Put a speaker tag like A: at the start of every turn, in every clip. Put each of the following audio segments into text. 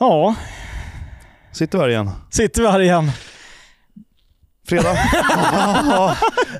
A: Ja,
B: Sitter vi här igen.
A: sitter vi här igen.
B: Fredag.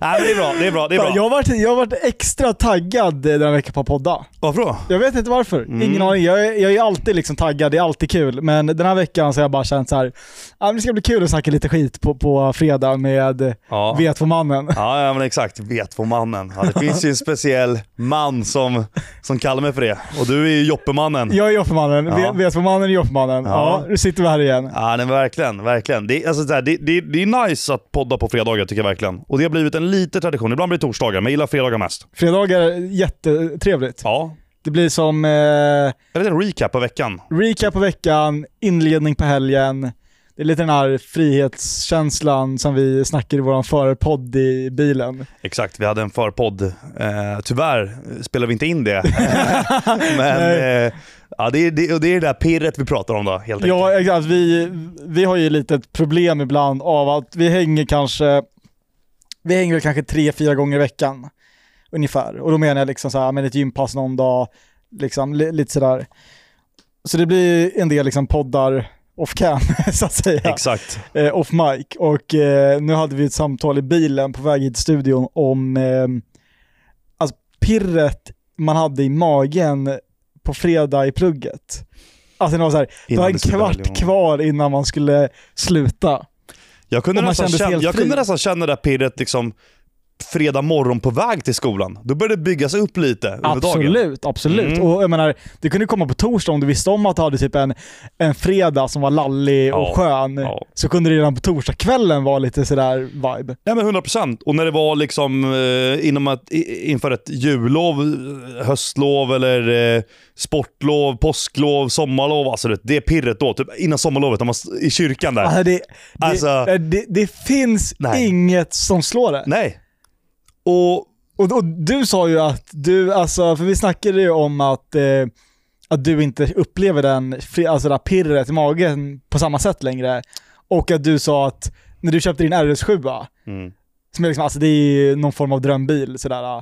B: Nej, men det är bra. Det är bra. Det är bra.
A: Jag har varit, jag har varit extra taggad eh, den här veckan på att podda.
B: Varför då?
A: Jag vet inte varför.
B: Mm.
A: Ingen aning. Jag, är- jag är alltid liksom taggad, det är alltid kul. Men den här veckan så har jag bara känt så här, "Ja, men det ska bli kul att snacka lite skit på, på fredag med
B: Ja.
A: vet vad mannen
B: Ja, ja men exakt. Vet på mannen. Ja, det finns ju en speciell man som, som kallar mig för det. Och du är ju Joppemannen.
A: Jag är Joffmannen,
B: Ja.
A: ja. vet vad mannen är Joffmannen.
B: Ja.
A: Ja. nu sitter vi här igen.
B: Ja, nej, men verkligen. verkligen. Det, är- alltså, så här, det, det, det är nice att podda på fredagar tycker jag verkligen. Och det har blivit en liten tradition. Ibland blir det torsdagar, men jag gillar fredagar mest.
A: Fredagar är jättetrevligt.
B: Ja.
A: Det blir som eh,
B: En liten recap på veckan.
A: recap på veckan, inledning på helgen. Det är lite den här frihetskänslan som vi snackar i vår förpodd i bilen.
B: Exakt, vi hade en förpodd. Eh, tyvärr spelar vi inte in det. Men eh, ja, det, är- det, och det är det där pirret vi pratar om då, helt enkelt.
A: Ja, exakt. Vi, vi har ju lite ett problem ibland av att vi hänger kanske vi hänger väl kanske tre, fyra gånger i veckan ungefär. Och då menar jag liksom så här, med ett gympass någon dag, liksom, li, lite sådär. Så det blir en del liksom poddar off cam, så att säga.
B: Exakt.
A: eh, off mic och eh, nu hade vi ett samtal i bilen på väg hit till studion om eh, alltså pirret man hade i magen på fredag i plugget. Alltså det var så här, det
B: Innan
A: var
B: det
A: en
B: skulle välja.
A: kvart kvar innan man skulle sluta.
B: Jag kunde,
A: Och man
B: nästan
A: kändes
B: känna,
A: helt
B: jag
A: fri.
B: kunde nästan känna det där pirret liksom fredag morgon på väg till skolan. Då började det byggas upp lite över dagen.
A: Absolut, absolut.
B: Mm.
A: Och jag menar, det kunde komma på torsdag om du visste om att du hade typ en, en fredag som var lallig
B: Ja,
A: och skön.
B: ja.
A: Så kunde det redan på torsdagskvällen vara lite sådär vibe.
B: Nej men 100%. Och när det var liksom eh, inom att, i- inför ett jullov, eh, höstlov eller eh, sportlov, påsklov, sommarlov. Alltså det, det pirret då. Typ innan sommarlovet, när man, s- i kyrkan där.
A: Alltså det, det,
B: Alltså-
A: det, det finns
B: Nej.
A: inget som slår det.
B: Nej. Och
A: Och, och du sa ju att du, alltså, för vi snackade ju om att, eh, att du inte upplever den, fri- alltså det där pirret i magen på samma sätt längre. Och att du sa att när du köpte din RS7,
B: Mm.
A: som är liksom, alltså det är ju någon form av drömbil sådär.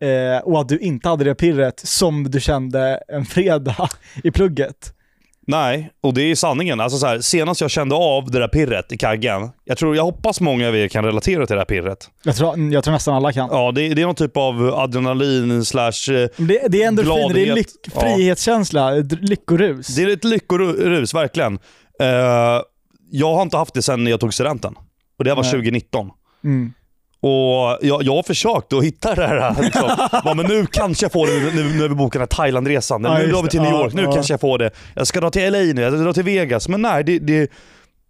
A: Eh, och att du inte hade det pirret som du kände en fredag i plugget.
B: Nej, och det är sanningen. Alltså så här, senast jag kände av det där pirret i kaggen. Jag, tror, jag hoppas många av er kan relatera till det där pirret.
A: Jag tror, jag tror nästan alla kan.
B: Ja, det, det är någon typ av adrenalin slash... eh,
A: Men Det, det är endorfiner, det är
B: Gladhet,
A: lyck,
B: ja.
A: frihetskänsla, d- lyckorus.
B: Det är ett lyckorus, verkligen. Eh, jag har inte haft det sen jag tog studenten. Och det här var
A: Nej.
B: 2019.
A: Mm.
B: Och jag, jag har försökt att hitta det här. Liksom. Bara, men nu kanske jag får det nu, nu när vi bokar den här Thailandresan.
A: Ja,
B: nu
A: just
B: drar vi till
A: det.
B: New
A: Ja,
B: York. Nu
A: ja.
B: kanske jag får det. Jag ska dra till LA nu. Jag ska dra till Vegas. Men nej, det, det,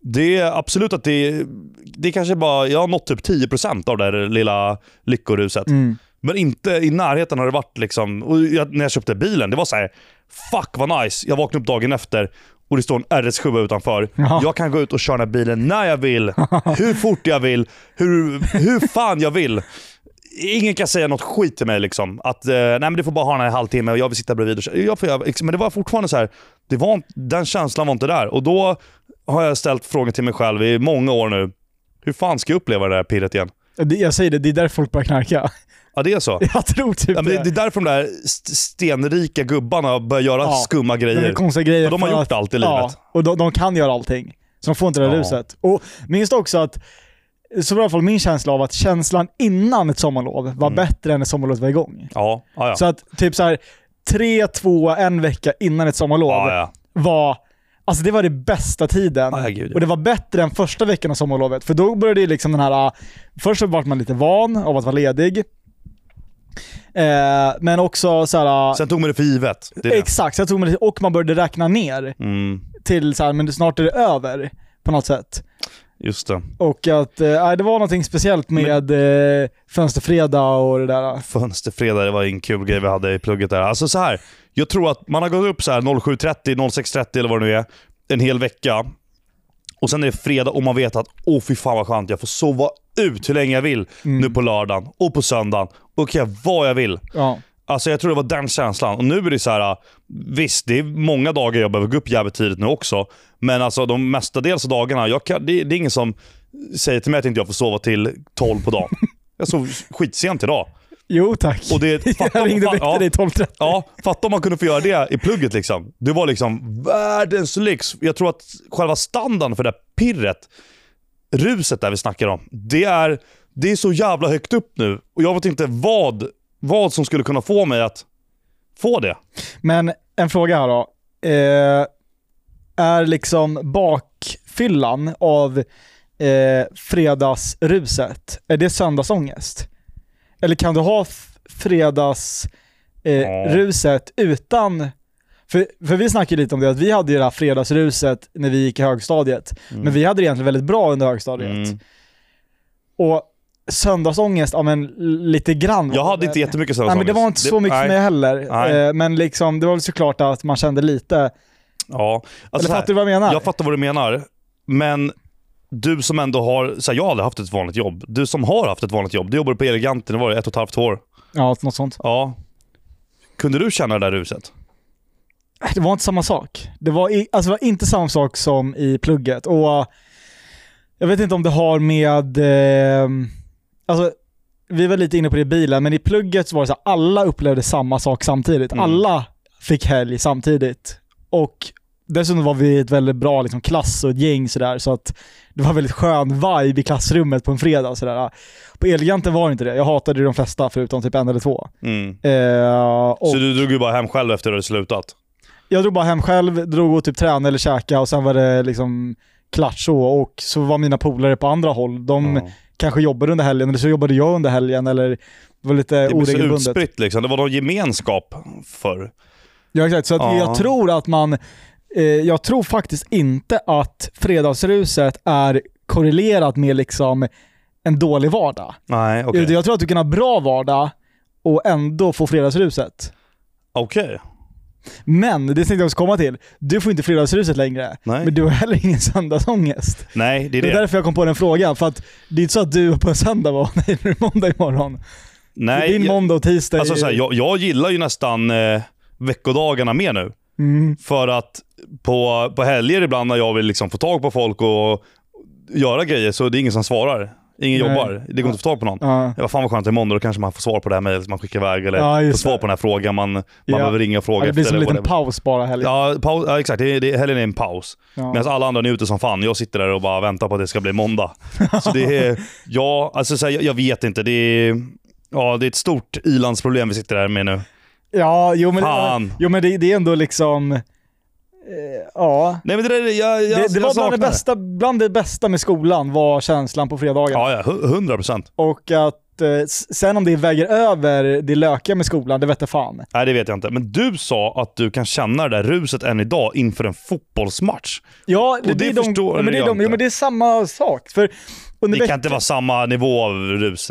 B: det är absolut att det, det är kanske bara... Jag har nått typ 10% av det här lilla lyckoruset.
A: Mm.
B: Men inte i närheten har det varit liksom... Och jag, när jag köpte bilen, det var så här. Fuck vad nice. Jag vaknade upp dagen efter och det står en RS7 utanför.
A: Ja.
B: Jag kan gå ut och köra den här bilen när jag vill, hur fort jag vill, hur, hur fan jag vill. Ingen kan säga något skit till mig liksom. Att eh, nej men du får bara ha den här i en halvtimme och jag vill sitta bredvid och köra. jag får, göra- liksom, Men det var fortfarande så här. Det var, inte- den känslan var inte där. Och då har jag ställt frågan till mig själv i många år nu. Hur fan ska jag uppleva det här pirret igen?
A: Det- Jag säger det, det är därför folk börjar knarka.
B: Ja, det är så.
A: Jag tror typ
B: Ja, men det, det är därför de där st- stenrika gubbarna börjar göra
A: Ja,
B: skumma
A: De
B: grejer.
A: är konstiga grejer.
B: För de har
A: för
B: gjort allt i livet.
A: och de, de kan göra allting. Så de får inte det där
B: Ja.
A: ruset. Och minns du också att, så var i alla fall min känsla av att känslan innan ett sommarlov var bättre än när sommarlovet var igång.
B: Ja, Mm. ja, ja.
A: Så att typ så här tre, två, en vecka innan ett sommarlov
B: ja, ja.
A: var, alltså det var det bästa tiden.
B: Ja, herregud, ja.
A: Och det var bättre än första veckan av sommarlovet. För då började ju liksom den här, äh, först så vart man lite van av att vara ledig. Eh, men också så här... äh,
B: Sen tog man det för givet. Det är det.
A: Exakt, så jag tog mig till, och man började räkna ner
B: Mm,
A: till så här, men snart är det över på något sätt.
B: just det.
A: Och att, eh, nej, det var någonting speciellt med eh, fönsterfredag och det där.
B: Fönsterfredag, det var en kul grej vi hade i plugget där. Alltså så här, jag tror att man har gått upp så här 07.30, 06.30 eller vad det nu är, en hel vecka. Och sen är det fredag och man vet att åh fy fan vad skönt, jag får sova ut hur länge jag vill nu på lördagen och på söndagen. Och kan jag vad jag vill.
A: Ja.
B: Alltså jag tror det var den känslan. Och nu är det så här, äh, visst det är många dagar jag behöver gå upp jävligt tidigt nu också. Men alltså de mestadels av dagarna, jag kan, det, det är ingen som säger till mig att inte jag får sova till 12 på dagen. Jag sov skitsent idag.
A: Jo tack.
B: Och det, fatta,
A: jag ringde och
B: fa-
A: väckte
B: ja.
A: dig 12.30.
B: Ja, fatta om man kunde få göra det i plugget liksom. Det var liksom världens lyx. Jag tror att själva standarden för det här pirret, ruset där vi snackar om, det är, det är så jävla högt upp nu. Och jag vet inte vad, vad som skulle kunna få mig att få det.
A: Men en fråga här då. Eh, är liksom bakfyllan av eh, fredagsruset, är det söndagsångest? Eller kan du ha f- fredagsruset
B: Ja.
A: eh, ruset utan för, för vi snackade lite om det, att vi hade ju det här fredagsruset när vi gick i högstadiet. Men vi hade det egentligen väldigt bra under högstadiet.
B: Mm.
A: Och söndagsångest, ja men lite grann.
B: Jag hade
A: Men-
B: inte jättemycket
A: Nej, men
B: söndagsångest.
A: det var inte så mycket
B: nej.
A: för mig heller.
B: Nej.
A: Eh, Men liksom, det var väl såklart att man kände lite.
B: Ja. Alltså,
A: Eller
B: så här,
A: fattar du vad jag menar?
B: jag fattar vad du menar, men du som ändå har, så här, jag har aldrig haft ett vanligt jobb. Du som har haft ett vanligt jobb, du jobbade på Eleganten, det var det ett och ett halvt år.
A: ja, något sånt.
B: Ja. Kunde du känna det där ruset?
A: Nej, Äh, Det var inte samma sak. Det var, i, alltså, det var inte samma sak som i plugget. Och eh, Jag vet inte om det har med... Eh, alltså, vi var lite inne på det i bilen, men i plugget så var det så här, alla upplevde samma sak samtidigt.
B: Mm.
A: Alla fick helg samtidigt. Och dessutom var vi ett väldigt bra liksom, klass och ett gäng sådär, så att det var väldigt skön vibe i klassrummet på en fredag. och Sådär. På Elgiganten var det inte det. Jag hatade ju de flesta förutom typ en eller två. Eh, och
B: Mm. Så du drog ju bara hem själv efter att du hade slutat?
A: Jag drog bara hem själv, drog och typ tränade eller käkade och sen var det liksom klart så. Och så var mina polare på andra håll. De
B: Ja.
A: kanske jobbade under helgen eller så jobbade jag under helgen eller det var lite
B: Det blev så
A: oregelbundet.
B: utspritt liksom. Det var någon gemenskap förr.
A: Ja exakt, så att
B: Ja.
A: jag tror att man, eh, jag tror faktiskt inte att fredagsruset är korrelerat med liksom en dålig vardag.
B: Nej, okej.
A: Jag tror att du kan ha bra vardag och ändå få fredagsruset.
B: Okej.
A: Men, det tänkte jag också komma till, du får inte fredagsruset längre.
B: Nej.
A: Men du har heller ingen söndagsångest.
B: Nej, det är
A: Det
B: det.
A: är därför jag kom på den frågan, för att det är inte så att du på en söndag bara, nej nu är det måndag imorgon.
B: Nej,
A: Din
B: jag-
A: måndag och tisdag
B: alltså,
A: är-
B: så här, jag, jag gillar ju nästan eh, veckodagarna mer nu.
A: mm,
B: För att på, på helger ibland när jag vill liksom få tag på folk och göra grejer så är det ingen som svarar. Ingen
A: Nej.
B: jobbar. Det går inte att få tag på någon.
A: ja.
B: Ja, vad fan vad skönt, imorgon då kanske man får svar på det här mejlet som man skickar iväg eller
A: Ja,
B: får
A: just
B: svar
A: det.
B: på den här frågan man, man
A: Ja.
B: behöver ringa och
A: Ja,
B: fråga
A: Det blir som en liten
B: whatever.
A: paus bara helgen.
B: Ja, paus, ja, exakt. Det, det, helgen är en paus.
A: Ja.
B: Medan alla andra njuter som fan. Jag sitter där och bara väntar på att det ska bli måndag. Så det är, ja, alltså så här, jag, jag vet inte. Det är, ja, det är ett stort ilandsproblem vi sitter där med nu.
A: Ja, jo men,
B: Fan.
A: jo, men det, det är ändå liksom... Eh, ja.
B: Nej men det där, jag, jag,
A: Det,
B: jag
A: det var bland
B: saknar
A: det, bästa, bland det bästa med skolan var känslan på fredagar.
B: Ja, ja. hu- 100 procent.
A: Och att eh, s- sen om det väger över det lökiga med skolan, det vete fan.
B: Nej, det vet jag inte. Men du sa att du kan känna det där ruset än idag inför en fotbollsmatch.
A: Ja, det,
B: det
A: det är de,
B: förstår
A: ja, men det är
B: jag
A: de, jo,
B: inte.
A: men det är samma sak. För under
B: Det kan
A: veck-
B: inte vara samma nivå av rus.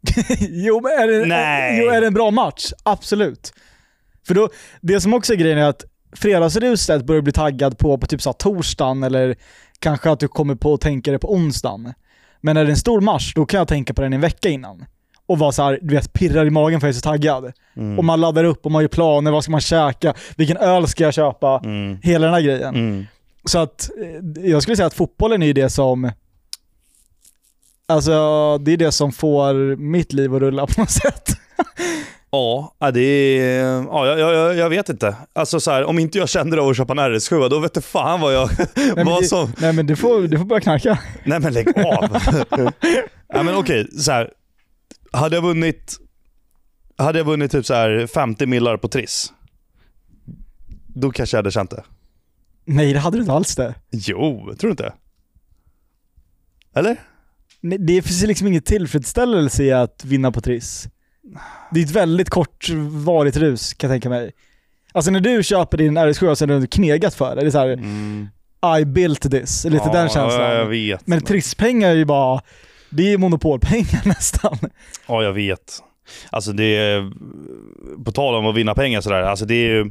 A: jo, men är det,
B: Nej.
A: jo, är det en bra match? Absolut. För då, det som också är grejen är att fredagsruset börjar bli taggad på på typ så här torsdagen eller kanske att du kommer på att tänka det på onsdagen. Men är det en stor match, då kan jag tänka på den en vecka innan. Och vara så här, du vet, pirrar i magen för jag är så taggad.
B: Mm.
A: Och man laddar upp och man gör planer, vad ska man käka, vilken öl ska jag köpa?
B: Mm.
A: Hela den här grejen.
B: Mm.
A: Så att eh, jag skulle säga att fotbollen är ju det som Alltså det är det som får mitt liv att rulla på något sätt.
B: Ja, ja, det är, ja, jag, jag, jag vet inte. Alltså så här, om inte jag kände det av att köpa en RS7, då vet du fan vad jag...
A: Nej, men
B: vad
A: det-
B: som,
A: Nej men du får, du får börja knarka.
B: nej men lägg av. nej men okej, så här. Hade jag vunnit, hade jag vunnit typ så här 50 millar på Triss, då kanske jag hade känt det.
A: Nej det hade du inte alls det.
B: Jo, tror du inte? Eller?
A: Nej, Det finns ju liksom ingen tillfredsställelse i att vinna på Triss. Det är ett väldigt kortvarigt rus kan jag tänka mig. Alltså när du köper din RS7 och sen har du knegat för det, det är så här, I built this, lite
B: Mm. ja,
A: den känslan.
B: Ja, jag vet.
A: Men Trisspengar är ju bara, det är ju monopolpengar nästan.
B: Ja, jag vet. Alltså det är, på tal om att vinna pengar sådär. Alltså det är ju,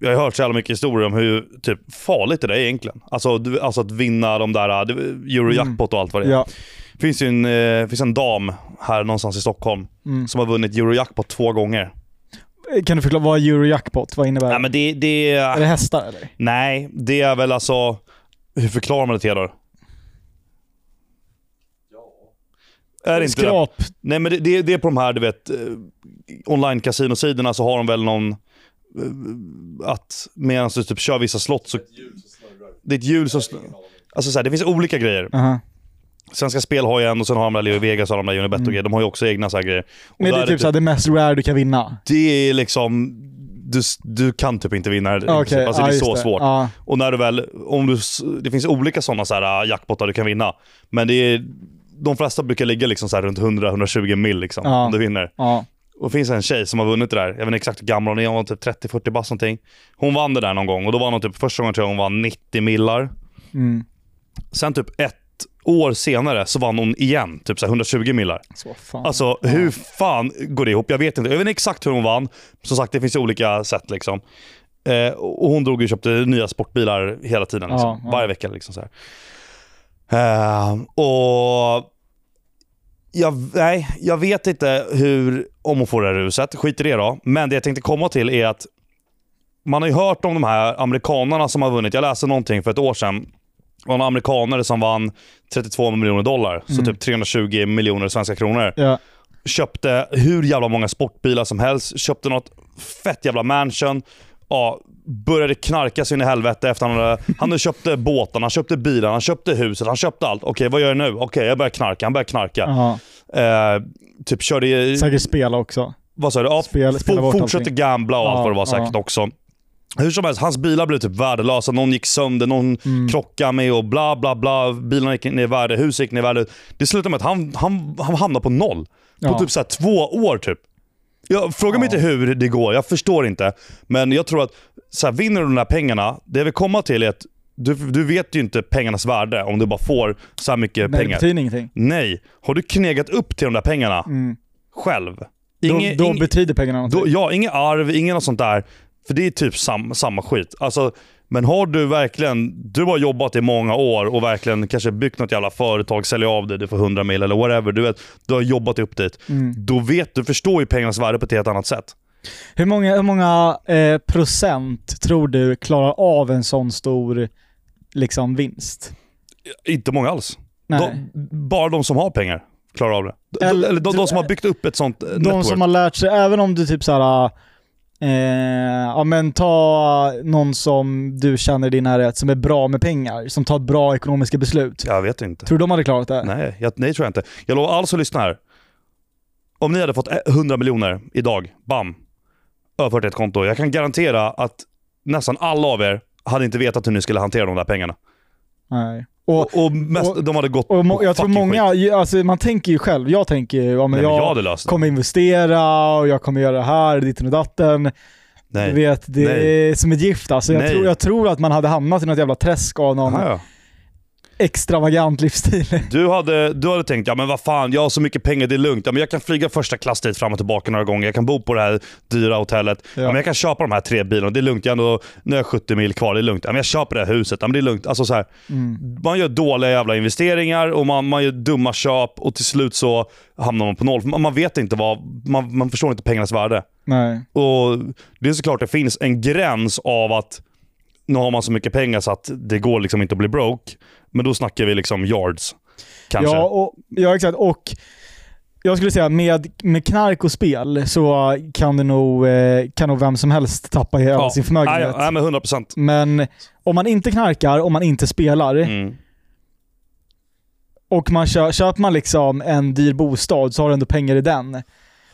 B: jag har hört så jävla mycket historier om hur typ, farligt det där är egentligen. Alltså, du, alltså att vinna de där äh, du, Eurojackpot och allt vad det är.
A: Mm. Ja.
B: Det finns ju en, eh, finns en dam här någonstans i Stockholm
A: Mm.
B: som har vunnit Eurojackpot två gånger.
A: Eh, Kan du förklara, vad är Eurojackpot? Vad innebär det?
B: Nej men det, det,
A: Är det hästar eller?
B: nej, det är väl alltså... Hur förklarar man det Theodor? Är det inte det?
A: Skrap.
B: Nej, men det, det, det är på de här, du vet, eh, online kasinosidorna så har de väl någon... eh, Att medan du typ kör vissa slott så... Det är ett hjul som snurrar. Alltså så här, det finns olika grejer.
A: Aha.
B: Svenska Spel har ju en och sen har de där Leo Vegas och de där Unibet och grejer. De har ju också egna så här grejer. Och
A: Mm. Men det
B: där
A: är typ såhär det mest rare du kan vinna.
B: det är liksom... Du, du kan typ inte vinna det. i
A: Okej,
B: princip. Alltså,
A: ja,
B: det är
A: just
B: så svårt.
A: Ja.
B: Och när du väl, om du, s- det finns olika sådana så här äh, jackpottar du kan vinna. Men det är, de flesta brukar ligga liksom så här runt 100-120 mil liksom,
A: Ja.
B: om du vinner.
A: ja.
B: Och det finns en tjej som har vunnit det där. Jag vet inte exakt hur gammal hon är, hon var typ 30-40 bast någonting. Hon vann det där någon gång och då var hon typ, första gången tror jag hon vann 90 millar.
A: Mm.
B: Sen typ ett år senare så vann hon igen, typ så här 120 millar.
A: Så fan.
B: Alltså hur fan går det ihop? Jag vet inte. Jag vet inte exakt hur hon vann. Som sagt, det finns ju olika sätt liksom. Eh, och hon drog och köpte nya sportbilar hela tiden. Liksom.
A: Ja, ja.
B: Varje vecka liksom så här. Eh, och... Jag, nej, jag vet inte hur, om hon får det här ruset. Skit i det då. Men det jag tänkte komma till är att man har ju hört om de här amerikanarna som har vunnit. Jag läste någonting för ett år sedan. Det var en amerikanare som vann 32 miljoner dollar,
A: Mm.
B: så typ 320 miljoner svenska kronor
A: ja.
B: köpte hur jävla många sportbilar som helst, köpte något fett jävla mansion, ja, började knarka sig in i helvete efter han hade, han hade köpte båtarna, han köpte bilarna, han köpte huset, han köpte allt. Okej, vad gör jag nu? Okej, jag börjar knarka. Han börjar knarka.
A: Aha.
B: Eh, typ körde...
A: Säkert spela också.
B: Vad sa du? Ja,
A: Spel- spela
B: fo-
A: bort
B: fortsatte
A: allting.
B: gambla och allt
A: Ja,
B: vad det var säkert
A: ja.
B: också. Hur som helst, hans bilar blev typ värdelösa. Någon gick sönder, någon
A: Mm.
B: krockade med och bla bla bla. Bilarna gick ner i värde, huset gick ner i värde. Det slutade med att han, han, han hamnade på noll. På
A: Ja.
B: typ så här två år typ. Jag frågar mig
A: Ja.
B: inte hur det går, jag förstår inte. Men jag tror att så här, vinner du de där pengarna, det jag vill komma till är att du, du vet ju inte pengarnas värde om du bara får så här mycket
A: Nej, det
B: pengar.
A: betyder ingenting.
B: Nej, har du knegat upp till de där pengarna
A: Mm.
B: själv?
A: Då,
B: Inge-
A: då
B: ing-
A: betyder pengarna någonting.
B: då, ja, inget arv, inget något sånt där. För det är typ sam, samma skit. Alltså, men har du verkligen, du har jobbat i många år och verkligen kanske byggt något jävla företag, säljer av det, du får 100 mil eller whatever. Du vet, du har jobbat upp dit.
A: Mm.
B: Då vet du, förstår ju pengarnas värde på ett helt annat sätt.
A: Hur många, hur många eh, procent tror du klarar av en sån stor liksom, vinst?
B: Inte många alls.
A: Nej.
B: De, bara de som har pengar klarar av det. De,
A: Eller-
B: eller de, de som har byggt upp ett sånt eh, network.
A: De som har lärt sig, även om du typ såhär, eh, ja men ta någon som du känner i din närhet som är bra med pengar, som tar bra ekonomiska beslut.
B: Jag vet inte.
A: Tror du de hade klarat det?
B: Nej, jag, nej tror jag inte. Jag lovar alla som lyssnar här. Om ni hade fått 100 miljoner idag, bam, överfört till ett konto. Jag kan garantera att nästan alla av er hade inte vetat hur ni skulle hantera de där pengarna.
A: Nej. Och,
B: Och, och, mest,
A: och-
B: de hade gått
A: och må,
B: på
A: jag tror
B: fucking skit.
A: många, ju- alltså, man tänker ju själv, jag tänker ju, ja men
B: Nej, men jag
A: jag
B: hade löst det.
A: kommer investera och jag kommer göra det här, ditten och datten. Du
B: Nej.
A: vet, det
B: Nej.
A: är som ett gift alltså. Jag
B: Nej.
A: tror, jag tror att man hade hamnat i något jävla träsk av någon
B: Aha, ja.
A: extravagant livsstil.
B: Du hade, du hade tänkt, ja men vad fan, jag har så mycket pengar, det är lugnt. Ja, men jag kan flyga första klass dit fram och tillbaka några gånger. Jag kan bo på det här dyra hotellet. Ja.
A: Ja.
B: men jag kan köpa de här tre bilarna, det är lugnt. Jag har ändå, nu har jag 70 mil kvar, det är lugnt. Ja, men jag köper det här huset, ja, men det är lugnt. Alltså, så här,
A: Mm.
B: Man gör dåliga jävla investeringar och man, man gör dumma köp och till slut så hamnar man på noll. För Man, man vet inte vad, man, man förstår inte pengarnas värde.
A: Nej.
B: Och Det är såklart det finns en gräns av att nu har man så mycket pengar så att det går liksom inte att bli broke. Men då snackar vi liksom yards. Kanske.
A: Ja, och, ja, exakt. Och jag skulle säga med, med knark och spel så kan, det nog, eh, kan nog vem som helst tappa hela
B: Ja.
A: sin förmögenhet.
B: Nej, nej men 100 procent.
A: Men om man inte knarkar, om man inte spelar
B: Mm.
A: och man kö, köper man liksom en dyr bostad så har du ändå pengar i den.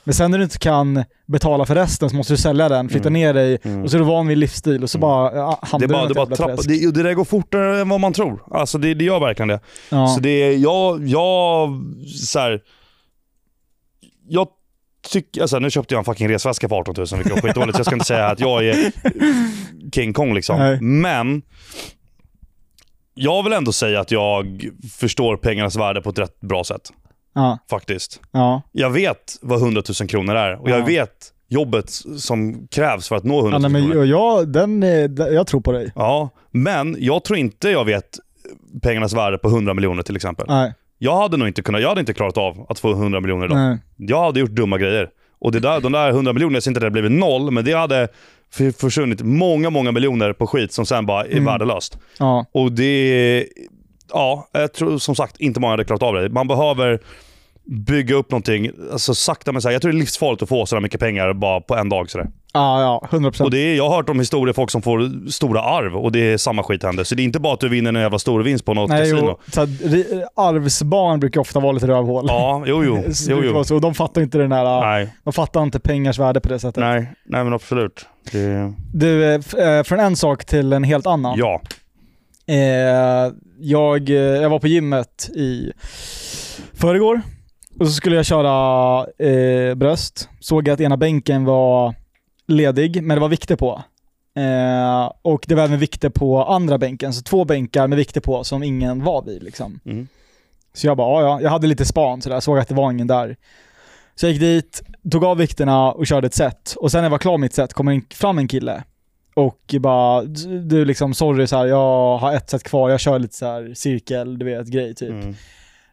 A: Men sen när du inte kan betala för resten så måste du sälja den, flytta
B: Mm.
A: ner dig
B: Mm.
A: och så är du van vid livsstil och så
B: Mm.
A: bara ja,
B: Det,
A: hamnar du
B: är
A: i
B: bara, det,
A: något
B: är bara
A: jävla
B: trappa,
A: träsk.
B: det, och det där går fortare än vad man tror. Alltså det, det gör verkligen det.
A: Ja.
B: Så det är, jag, jag, så här, jag tycker, alltså nu köpte jag en fucking resväska för 18 000 vilket var skitdåligt så jag ska inte säga att jag är King Kong liksom.
A: Nej.
B: Men jag vill ändå säga att jag förstår pengarnas värde på ett rätt bra sätt.
A: ja,
B: Faktiskt.
A: ja.
B: Jag vet vad 100 000 kronor är och jag
A: Ja.
B: vet jobbet som krävs för att nå 100
A: ja
B: 000
A: nej,
B: kronor.
A: men, jag, den, eh, den- jag tror på dig.
B: Ja, men jag tror inte jag vet pengarnas värde på 100 miljoner till exempel.
A: Nej,
B: Jag hade nog inte kunnat, jag hade inte klarat av att få 100 miljoner idag.
A: nej.
B: Jag hade gjort dumma grejer. Och det där, de där 100 miljonerna, jag ser inte att det hade blivit noll, men det hade f- försvunnit många, många miljoner på skit som sen bara är
A: Mm.
B: värdelöst.
A: Ja.
B: Och det... Ja, jag tror som sagt inte många hade klarat av det. Man behöver bygga upp någonting. Alltså sakta men säkert. Jag tror det är livsfarligt att få sådär mycket pengar bara på en dag. Sådär.
A: Ja, ja, 100
B: Och det är, jag har hört om historier folk som får stora arv och det är samma skit händer. Så det är inte bara att du vinner en jävla stor vinst på något
A: Nej,
B: kasino.
A: jo, så här, ri- arvsbarn brukar ofta vara lite rövhål.
B: Ja, jo, jo.
A: Så
B: jo,
A: brukar
B: jo.
A: vara Så, och de fattar inte den här,
B: Nej,
A: de fattar inte pengars värde på det sättet.
B: nej, nej men absolut. Det,
A: Du, eh, f- eh, från en sak till en helt annan.
B: ja.
A: Eh, jag, eh, jag var på gymmet i förrgår och så skulle jag köra eh, bröst. Såg att ena bänken var ledig, men det var vikter på. Eh, och det var även vikter på andra bänken, så två bänkar med vikter på som ingen var vid. Liksom.
B: Mm.
A: Så jag bara, "Ja, ja, jag hade lite span sådär, såg att det var ingen där. Så jag gick dit, tog av vikterna och körde ett set. Och sen när jag var klar med mitt set kom en, fram en kille och bara, du du liksom sorry så här, jag har ett set kvar, jag kör lite så här cirkel, du vet grej typ.
B: Mm.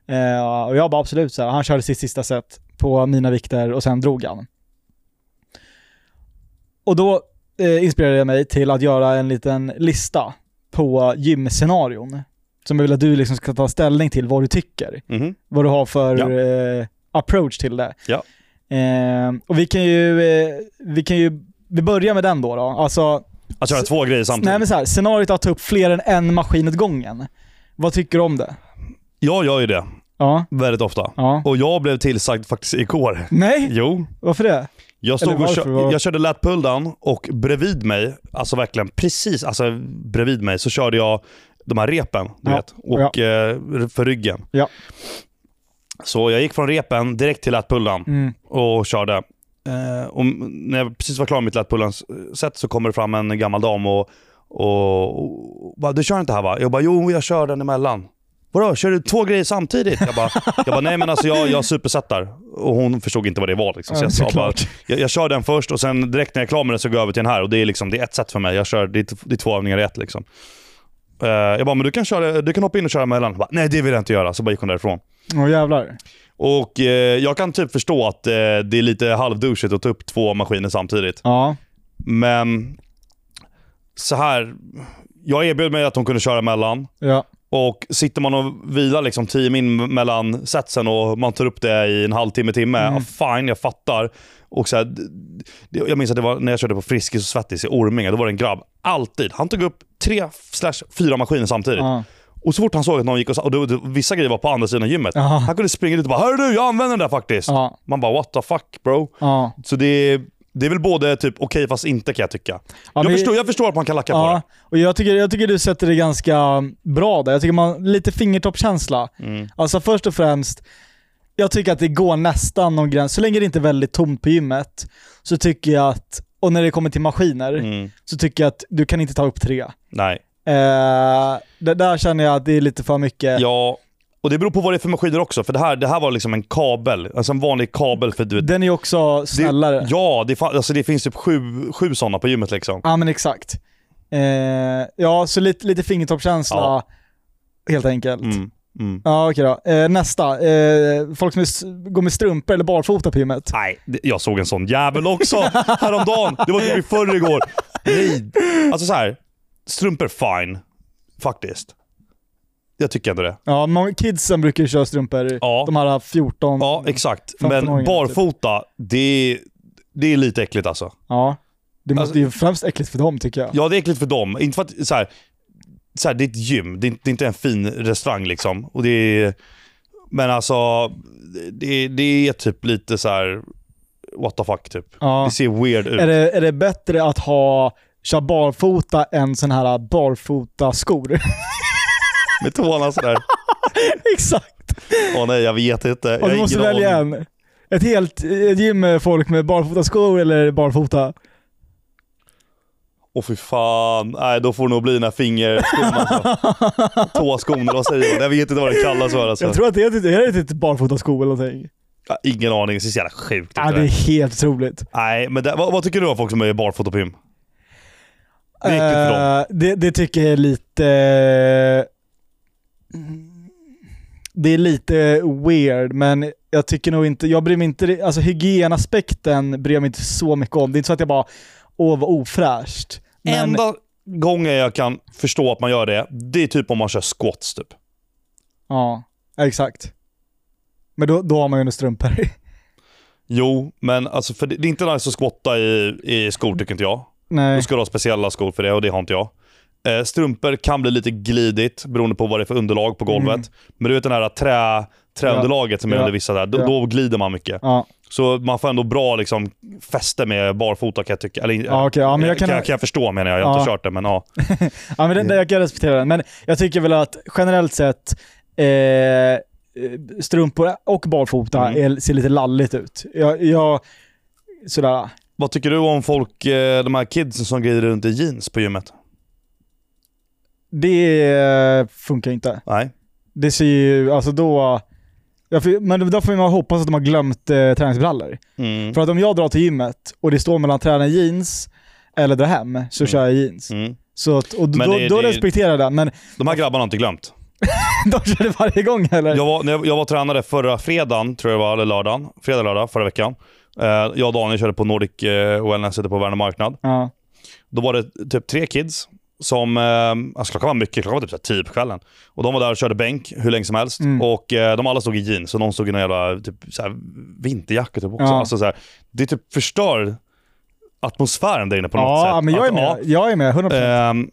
A: Eh, och jag bara absolut så här, han körde sitt sista set på mina vikter och sen drog han. Och då eh, inspirerade jag mig till att göra en liten lista på gymscenarion. Som jag vill att du liksom ska ta ställning till vad du tycker
B: Mhm.
A: vad du har för
B: Ja.
A: eh, approach till det.
B: Ja.
A: Eh, och vi kan ju, eh, vi kan ju, vi börjar med den då. då. Alltså,
B: Att köra
A: S-
B: två grejer
A: nej
B: samtidigt.
A: men så här, scenariot att ta upp fler än en maskin åt gången. Vad tycker du om det?
B: Jag gör ju det
A: Ja,
B: väldigt ofta.
A: ja.
B: Och jag blev tillsagd faktiskt igår.
A: Nej,
B: Jo,
A: varför det?
B: Jag stod
A: Eller
B: och
A: varför?
B: kö-
A: Vad-
B: jag körde lat pulldown och bredvid mig, alltså verkligen precis alltså bredvid mig, så körde jag de här repen, du
A: Ja.
B: vet. Och eh, för ryggen.
A: Ja.
B: Så jag gick från repen direkt till lat pulldown
A: Mm.
B: och körde. Eh, och när jag precis var klar med mitt lat pulldown-set så kommer det fram en gammal dam och, och, och, bara “Du kör inte här va?” Jag bara “Jo, jag kör den emellan”. Vadå, kör du två grejer samtidigt? Jag bara, jag bara nej men alltså jag, jag supersättar. Och hon förstod inte vad det var. Liksom. Så
A: Ja,
B: jag sa bara,
A: såklart.
B: jag, jag kör den först och sen direkt när jag är klar med den så går jag över till den här. Och det är, liksom, det är ett sätt för mig. Jag kör, det, är, t- det är två övningar i ett. Liksom. Eh, jag bara, men du kan, köra, du kan hoppa in och köra emellan. Hon Bara, nej, det vill jag inte göra. Så bara gick hon därifrån.
A: Åh jävlar.
B: Och eh, jag kan typ förstå att eh, det är lite halvdouchigt att ta upp två maskiner samtidigt.
A: Ja,
B: Men så här. Jag erbjöd mig att hon kunde köra emellan.
A: ja.
B: Och sitter man och vilar liksom 10 min mellan setsen och man tar upp det i en halvtimme, timme.
A: Mm.
B: Ja, fine, jag fattar. Och så här, d- d- jag minns att det var när jag körde på Friskis och Svettis i Orminge. Då var det en grabb, alltid. Han tog upp tre slash fyra maskiner samtidigt.
A: ja.
B: Och så fort han såg att någon gick och, sa- och då, då, vissa grejer var på andra sidan gymmet.
A: Ja.
B: Han kunde springa ut och bara “Hörru du, jag använder den där faktiskt”.
A: ja.
B: Man bara “What the fuck bro?”
A: ja.
B: Så det är, det är väl både typ okej fast inte kan jag tycka.
A: ja
B: jag,
A: men-
B: förstår, jag förstår att man kan lacka på
A: Ja,
B: det.
A: och jag tycker, jag tycker du sätter det ganska bra där. Jag tycker man, lite fingertoppskänsla.
B: Mm.
A: Alltså först och främst, jag tycker att det går nästan någon gräns. Så länge det inte är väldigt tomt på gymmet, så tycker jag att, och när det kommer till maskiner,
B: Mm.
A: så tycker jag att du kan inte ta upp tre.
B: Nej.
A: Eh, det där känner jag att det är lite för mycket.
B: Ja, och det beror på vad det är för maskiner också. För det här, det här var liksom en kabel. Alltså en vanlig kabel för du vet.
A: Den är ju också snällare.
B: Det, ja, det, fa- alltså det finns typ sju, sju sådana på gymmet liksom.
A: Ja men exakt. Eh, ja, så lite, lite fingertoppskänsla,
B: Ja.
A: helt enkelt.
B: Mm, mm.
A: Ja okej då. Eh, nästa. Eh, folk som är, s- går med strumpor eller barfota på gymmet.
B: Nej, det- jag såg en sån jävel också häromdagen. Det var typ i förrgår. Nej. Alltså så här. strumpor fine. Faktiskt. Jag tycker ändå det.
A: Ja, många kidsen brukar ju köra strumpor.
B: Ja.
A: De här 14.
B: Ja, exakt. Men
A: 15-åringar, typ.
B: barfota, det, det är lite äckligt alltså.
A: Ja. Det måste
B: Alltså-
A: ju främst äckligt för dem tycker jag.
B: Ja, det är äckligt för dem. Inte för att, så här, så här, det är ett gym. Det är, inte- det är inte en fin restaurang liksom. Och det är, men alltså, det, det är typ lite så här what the fuck typ.
A: Ja.
B: Det ser weird ut.
A: Är, det, är det bättre att ha köra barfota än sån här barfota skor?
B: Med tårna sådär.
A: Exakt.
B: Åh nej, jag vet inte. Jag
A: Och
B: har
A: du måste
B: ingen
A: välja
B: aning.
A: en. Ett helt ett gym med folk med barfota skor eller barfota?
B: Åh fy fan. Nej, då får det nog bli den här fingerskon alltså. Tåskon, eller vad säger man? Jag vet inte vad det kallas för alltså.
A: Jag tror att det är, ett- det är ett litet barfota skor eller någonting.
B: Jag har ingen aning. Det ser så jävla sjukt ut.
A: Ja,
B: det
A: det
B: där.
A: är helt otroligt.
B: Nej, men det, vad, vad tycker du om folk som är barfota på gym? Det är äckligt för dem.
A: Eh, det, det tycker jag är lite... eh, Det är lite weird, men jag tycker nog inte... Jag bryr mig inte... Alltså hygienaspekten bryr jag mig inte så mycket om. Det är inte så att jag bara åh vad ofräscht. Men,
B: Enda gången jag kan förstå att man gör det, det är typ om man kör squats typ.
A: Ja, exakt. Men då, då har man ju under strumpor.
B: Jo, men alltså, för det, det är inte nice att skotta i, i skor tycker inte jag. Då
A: Nej.
B: ska du ha speciella skor för det och det har inte jag. Eh, strumpor kan bli lite glidigt beroende på vad det är för underlag på golvet.
A: Mm.
B: Men du vet den här trä, träunderlaget som är
A: Ja.
B: under vissa där, då,
A: Ja.
B: då glider man mycket.
A: Ja,
B: Så man får ändå bra liksom, fäste med barfota kan jag tycka. Eller,
A: ja okej. Ja, men jag kan...
B: Eh, kan, kan jag förstå menar jag, jag har inte
A: Ja.
B: kört det men ja.
A: Ja, men det, det, jag kan respektera den. Men jag tycker väl att generellt sett eh, strumpor och barfota
B: Mm.
A: är, ser lite lalligt ut. Jag, jag sådär.
B: Vad tycker du om folk, eh, de här kidsen som glider runt i jeans på gymmet?
A: Det eh, funkar inte.
B: Nej.
A: Det ser ju, alltså då... Jag får, men då får man hoppas att de har glömt eh, träningsbrallor.
B: Mm.
A: För att om jag drar till gymmet och det står mellan träna i jeans eller dra hem, så
B: Mm.
A: kör jag jeans.
B: Mm.
A: Så att, och då,
B: Men det-
A: då
B: det-
A: respekterar jag den, men
B: De här grabbarna har inte glömt.
A: de kör det varje gång eller?
B: Jag var, när jag, jag var tränare förra fredagen, tror jag det var, eller lördagen. Fredag, lördag förra veckan. Eh, jag och Daniel körde på Nordic eh, Wellness ute på Värnö marknad.
A: Ja.
B: Då var det typ tre kids som, eh, alltså klockan var mycket, klockan var typ så här tio på kvällen. Och de var där och körde bänk hur länge som helst.
A: Mm.
B: Och eh, de alla stod i jeans och någon stod i någon jävla typ, så här, vinterjacka typ också.
A: Ja.
B: Alltså, så här, det typ förstör atmosfären där inne på något sätt.
A: Ja, men jag
B: Att,
A: är med.
B: ja,
A: Jag är med, 100%.
B: Ehm,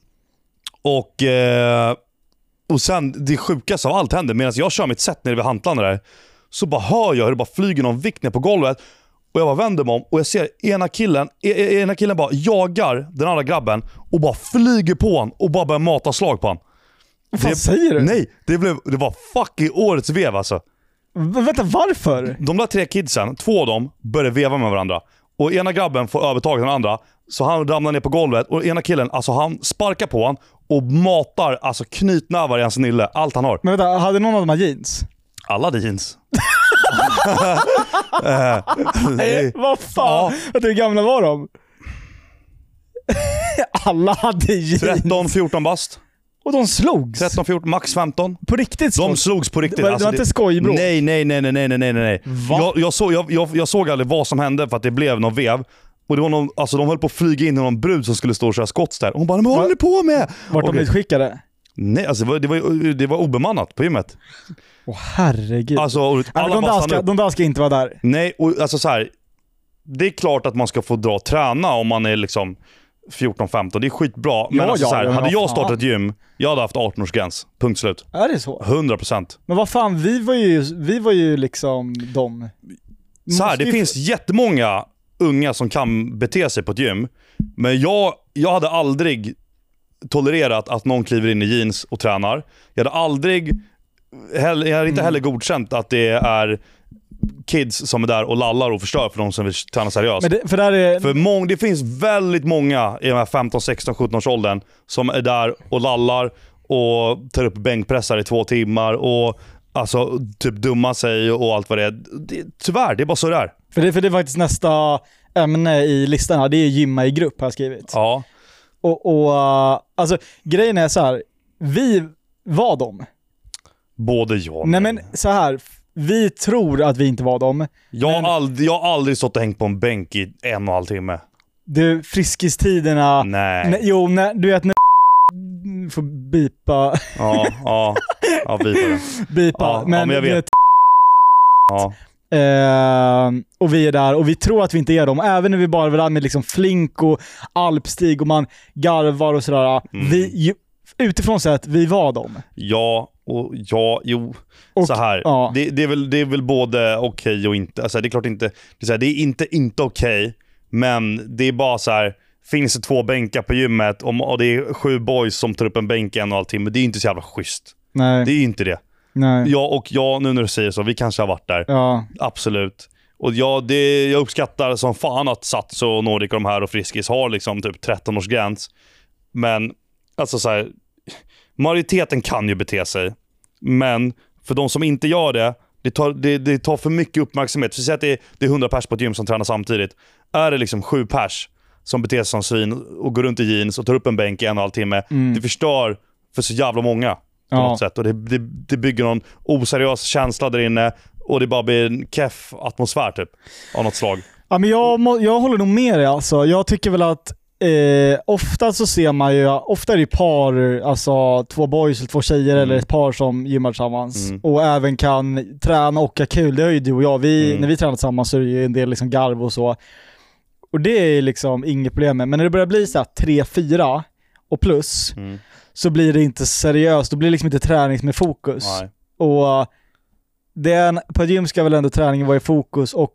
B: och, eh, och sen det sjukaste av allt händer, medan jag kör mitt set nere vid hantlarna där, så bara hör jag hur det bara flyger någon vikt ner på golvet. Och jag bara vänder mig om och jag ser ena killen, e- e- ena killen bara jagar den andra grabben och bara flyger på honom och bara börjar mata slag på honom.
A: Vad fan
B: det-
A: säger du?
B: Nej, det, blev, det var fucking årets vev alltså.
A: V- vänta, varför?
B: De där tre kidsen, två av dem, börjar veva med varandra. Och ena grabben får övertaget av den andra, så han ramlar ner på golvet och ena killen, alltså han sparkar på han och matar alltså knytnävar i hans nille. Allt han har.
A: Men vänta, hade någon av dem här jeans?
B: Alla hade jeans. Eh, nej.
A: Vad
B: Ja.
A: fan? Vänta, hur gamla var de? Alla hade jeans.
B: 13, 14 bast.
A: Och de slogs?
B: 13, 14, max 15.
A: På riktigt
B: De
A: slogs?
B: slogs på
A: Det
B: riktigt.
A: var, det
B: Alltså,
A: var
B: det-
A: inte skojbråk?
B: Nej, nej, nej, nej, nej, nej, nej, nej.
A: Va?
B: Jag, jag, såg, jag, jag, jag såg aldrig vad som hände för att det blev någon vev. Och det var någon, alltså de höll på att flyga in i någon brud som skulle stå och köra skott där. Och hon bara “Men vad håller ni på med?”
A: Vart
B: Och-
A: de utskickade?
B: Nej, alltså det var, det var, det var obemannat på gymmet.
A: Åh herregud.
B: Alltså, och
A: Nej, men
B: alla
A: de,
B: bara
A: där
B: stannade
A: ska,
B: upp.
A: de där ska inte vara där.
B: Nej, och alltså så här. Det är klart att man ska få dra och träna om man är liksom 14-15. Det är skitbra. Men
A: Ja,
B: alltså
A: ja,
B: så här,
A: ja,
B: hade
A: ja,
B: jag
A: fan.
B: startat ett gym, jag hade haft 18-årsgräns. Punkt slut.
A: Är det så?
B: 100%.
A: Men vad fan, vi var ju, vi var ju liksom de.
B: Så här,
A: Måste
B: det
A: ju-
B: finns jättemånga unga som kan bete sig på ett gym. Men jag, jag hade aldrig tolererat att någon kliver in i jeans och tränar. Jag hade aldrig, hell, jag hade
A: Mm.
B: inte heller godkänt att det är kids som är där och lallar och förstör för de som vill träna seriöst.
A: Men det, för där är...
B: För mång, det finns väldigt många i de här 15, 16, 17 års åldern som är där och lallar och tar upp bänkpressar i två timmar och alltså typ dumma sig och allt vad det är. Det, tyvärr, det är bara så det är.
A: För det, för det är faktiskt nästa ämne i listan här, det är gymma i grupp har jag skrivit.
B: Ja.
A: Och, och uh, alltså grejen är så här. vi var dem.
B: Både jag och
A: Nej
B: mig.
A: men så här. vi tror att vi inte var dem.
B: jag, har
A: men-
B: aldrig, jag har aldrig stått och hängt på en bänk i en och en halv timme.
A: Du, friskistiderna.
B: Nej.
A: Ah, Nej, jo, nej, du vet när får bipa,
B: Ja, ja. Ja, vi får det.
A: bipa.
B: Ja, ja, men jag
A: du
B: vet. Ja.
A: Eh, och vi är där och vi tror att vi inte är dem. Även när vi bara var där med liksom flink och alpstig och man garvar och sådär.
B: Mm.
A: Vi, ju, utifrån sett, vi var dem.
B: Ja och ja, jo.
A: Och-
B: så här.
A: ja.
B: Det, det, är väl, det är väl både okej och inte. Alltså, det är klart inte. Det är, så här, det är inte inte okej, men det är bara så här. Finns det två bänkar på gymmet om- och det är sju boys som tar upp en bänk en och en timme. Det är inte så jävla schysst.
A: Nej,
B: Det är inte det.
A: nej.
B: Ja och ja, nu när du säger så, vi kanske har varit där.
A: Ja,
B: Absolut. Och ja, det, jag uppskattar som fan att Sats och Nordic och de här och Friskis har liksom typ 13-årsgräns. Men alltså så här, majoriteten kan ju bete sig. Men för de som inte gör det, det tar, det, det tar för mycket uppmärksamhet. För säg att det är, det är 100 pers på ett gym som tränar samtidigt. Är det liksom sju pers som beter sig som svin och går runt i jeans och tar upp en bänk i en och en halv timme. Det förstör för så jävla många på
A: Ja.
B: något sätt. Och det, det, det bygger någon oseriös känsla där inne och det bara blir en keff atmosfär typ. Av något slag.
A: Ja, men jag, må, jag håller nog med dig alltså. Jag tycker väl att eh, eh, ofta så ser man ju, ofta är det ju par, alltså två boys eller två tjejer
B: Mm.
A: eller ett par som gymmar tillsammans
B: Mm.
A: och även kan träna och ha kul. Det har ju du och jag, vi,
B: Mm.
A: när vi tränar tillsammans så är det ju en del liksom garv och så. Och det är ju liksom inget problem med, men när det börjar bli så här 3-4 och plus
B: Mm.
A: så blir det inte seriöst, då blir det liksom inte träning som är fokus.
B: Nej.
A: Och det är en, på ett gym ska väl ändå träningen vara i fokus och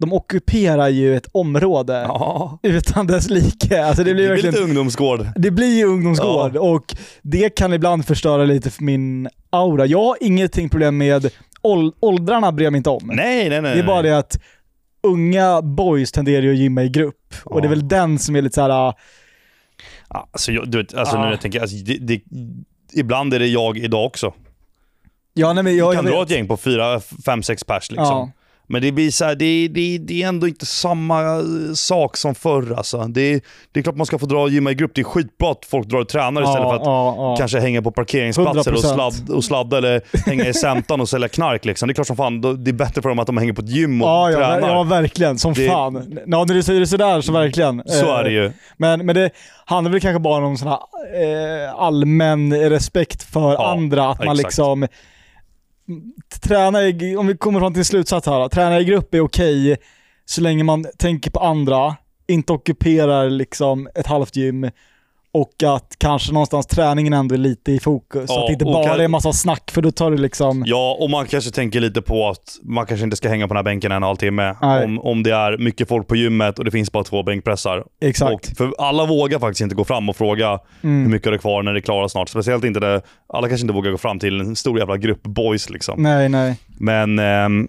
A: de ockuperar ju ett område
B: Ja.
A: utan dess like. Alltså det blir verkligen,
B: lite ungdomsgård.
A: det blir ju ungdomsgård och det kan ibland förstöra lite för min aura. Jag har ingenting problem med, ål, åldrarna bryr jag mig inte om.
B: Nej, nej, nej.
A: Det är bara
B: nej.
A: det att unga boys tenderar ju att gymma i grupp och det är väl den som är lite såhär,
B: Ja, Alltså, jag, du vet, alltså
A: Ja.
B: nu när jag tänker, alltså, det, det, ibland är det jag idag också.
A: ja nej men
B: Jag
A: jag,
B: kan
A: jag
B: dra
A: vet.
B: ett gäng på fyra, fem, sex pers liksom.
A: Ja.
B: Men det blir så här, det, det, det är ändå inte samma eh, sak som förr alltså. Det, det är klart man ska få dra och gymma i grupp. Det är skitbra att folk drar och tränar istället för att
A: ja, ja.
B: kanske hänga på parkeringsplatser och,
A: 100%.
B: sladd, och sladda eller hänga i Sämtan och sälja knark. Liksom. Det är klart som fan, då- det är bättre för dem att de hänger på ett gym och
A: Ja, ja, ver-
B: tränar.
A: ja, verkligen. Som
B: Det-
A: fan. Ja, när du säger det sådär så verkligen.
B: Så
A: Eh,
B: är det ju.
A: Men, men det handlar väl kanske bara om sån här eh, allmän respekt för
B: Ja,
A: andra. Att man
B: exakt.
A: liksom mm, träna i, om vi kommer fram till en slutsats här då. Träna i grupp är okej så länge man tänker på andra, inte ockuperar liksom ett halvt gym och att kanske någonstans träningen ändå är lite i fokus.
B: Ja,
A: så att det inte
B: och
A: bara
B: kan-
A: är en massa snack för då tar du liksom...
B: Ja, och man kanske tänker lite på att man kanske inte ska hänga på den här bänken en halvtimme.
A: Nej.
B: Om, om det är mycket folk på gymmet och det finns bara två bänkpressar.
A: Exakt. Mm.
B: Och, för alla vågar faktiskt inte gå fram och fråga hur mycket är det kvar när det är klara snart. Speciellt inte det, alla kanske inte vågar gå fram till en stor jävla grupp boys liksom.
A: Nej, nej.
B: Men ehm,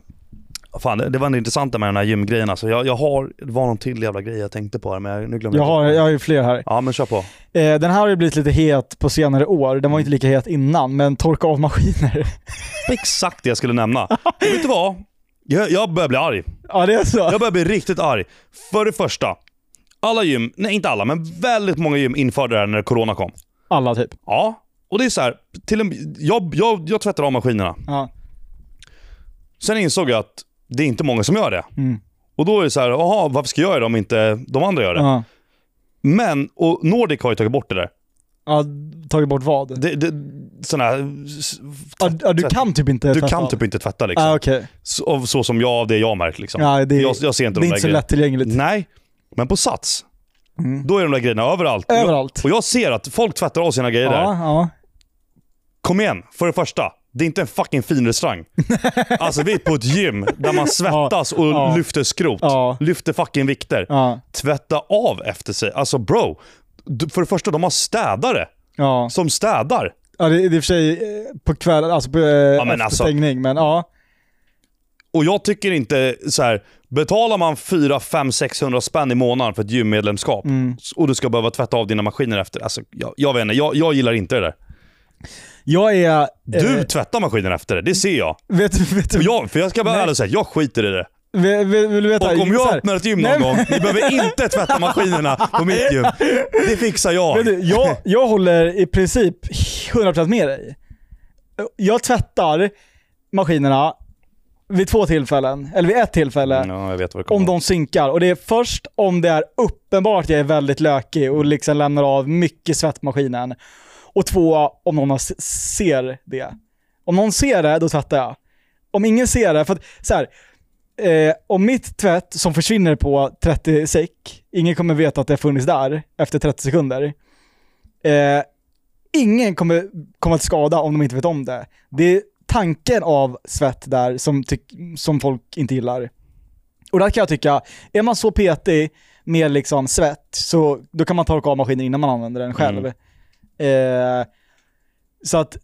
B: fan, det, det var ändå intressant det med den här gymgrejen alltså. jag, jag har, det var någon till jävla grej jag tänkte på här men jag, nu glömde
A: Jag har,
B: det.
A: jag har ju fler här.
B: Ja men kör på.
A: Eh, den här har ju blivit lite het på senare år. Den
B: Mm.
A: var ju inte lika het innan, men torka av maskiner.
B: Det är exakt det jag skulle nämna. Och vet du vad? Jag, jag börjar bli arg.
A: ja, det är så.
B: Jag börjar bli riktigt arg. För det första, alla gym, nej inte alla, men väldigt många gym införde det här när corona kom.
A: Alla typ.
B: Ja, och det är så här, till en, jag, jag, jag tvättar av maskinerna.
A: Ja.
B: Sen insåg jag att det är inte många som gör det.
A: Mm.
B: Och då är det så här, jaha, varför ska jag göra det om inte de andra gör det?
A: Ja.
B: Men, och Nordic har ju tagit bort det där.
A: Ja, tagit bort vad?
B: Det, det, sån här,
A: Ja, d- ja, du kan typ inte
B: du
A: tvätta
B: kan
A: av.
B: typ inte tvätta liksom.
A: Ja, okej.
B: så, så som jag, av det jag märkt liksom.
A: Ja, det är-
B: jag, jag ser
A: Det
B: inte
A: är
B: de där
A: inte så
B: grejerna.
A: lättillgängligt.
B: Nej, men på Sats,
A: Mm.
B: då är de där grejerna överallt.
A: Överallt.
B: Och jag ser att folk tvättar av sina grejer
A: Ja,
B: där.
A: ja.
B: Kom igen, för det första. Det är inte en fucking fin restaurang. alltså vi är på ett gym där man svettas och
A: Ja.
B: lyfter skrot.
A: Ja.
B: Lyfter fucking vikter.
A: Ja,
B: Tvätta av efter sig. Alltså bro. du- För det första, de har städare
A: ja.
B: som städar.
A: ja det, det är i och för sig eh, på kvällen, alltså på eh,
B: men
A: efter
B: alltså.
A: stängning, men ja.
B: Och jag tycker inte så här. betalar man 4, 5, 600 spänn i månaden för ett gymmedlemskap
A: Mm.
B: och du ska behöva tvätta av dina maskiner efter. Alltså, jag, jag vet inte, jag, jag gillar inte det där.
A: Jag är...
B: Du
A: Eh,
B: tvättar maskinen efter det, det ser jag.
A: vet, vet,
B: Och jag för jag ska vara
A: Nej.
B: ärlig och säga, jag skiter i det.
A: vet, vill, vill du veta?
B: Och om
A: så
B: jag
A: här-
B: öppnar ett gym
A: Nej,
B: någon
A: men-
B: gång, ni behöver inte tvätta maskinerna på mitt gym. Det fixar jag.
A: Men du, jag, jag håller i princip 100% med dig. Jag tvättar maskinerna vid två tillfällen, eller vid ett tillfälle,
B: Ja, jag vet vad det
A: om
B: kommer.
A: de synkar. Och det är först om det är uppenbart att jag är väldigt lökig och liksom lämnar av mycket svettmaskinen. Och två, om någon har- ser det. Om någon ser det, då tvättar jag. Om ingen ser det, för att så här, eh, om mitt tvätt som försvinner på 30 sek, ingen kommer veta att det har funnits där efter 30 sekunder. Eh, ingen kommer komma till skada om de inte vet om det. Det är tanken av svett där som, tyck- som folk inte gillar. Och där kan jag tycka, är man så petig med liksom svett, så då kan man torka av maskinen innan man använder den själv. Eh, så att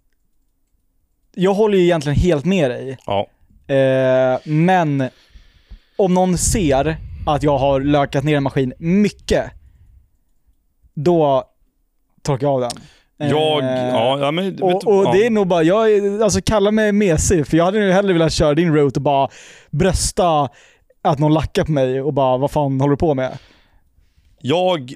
A: jag håller ju egentligen helt med dig.
B: Ja.
A: Eh, men om någon ser att jag har lökat ner en maskin mycket, då torkar jag av den. Eh,
B: Jag, ja, ja men... vet du-
A: och, och
B: ja.
A: det är nog bara, jag är, alltså kalla mig mesig, för jag hade nu hellre velat köra din route och bara brösta att någon lackar på mig och bara vad fan håller du på med?
B: Jag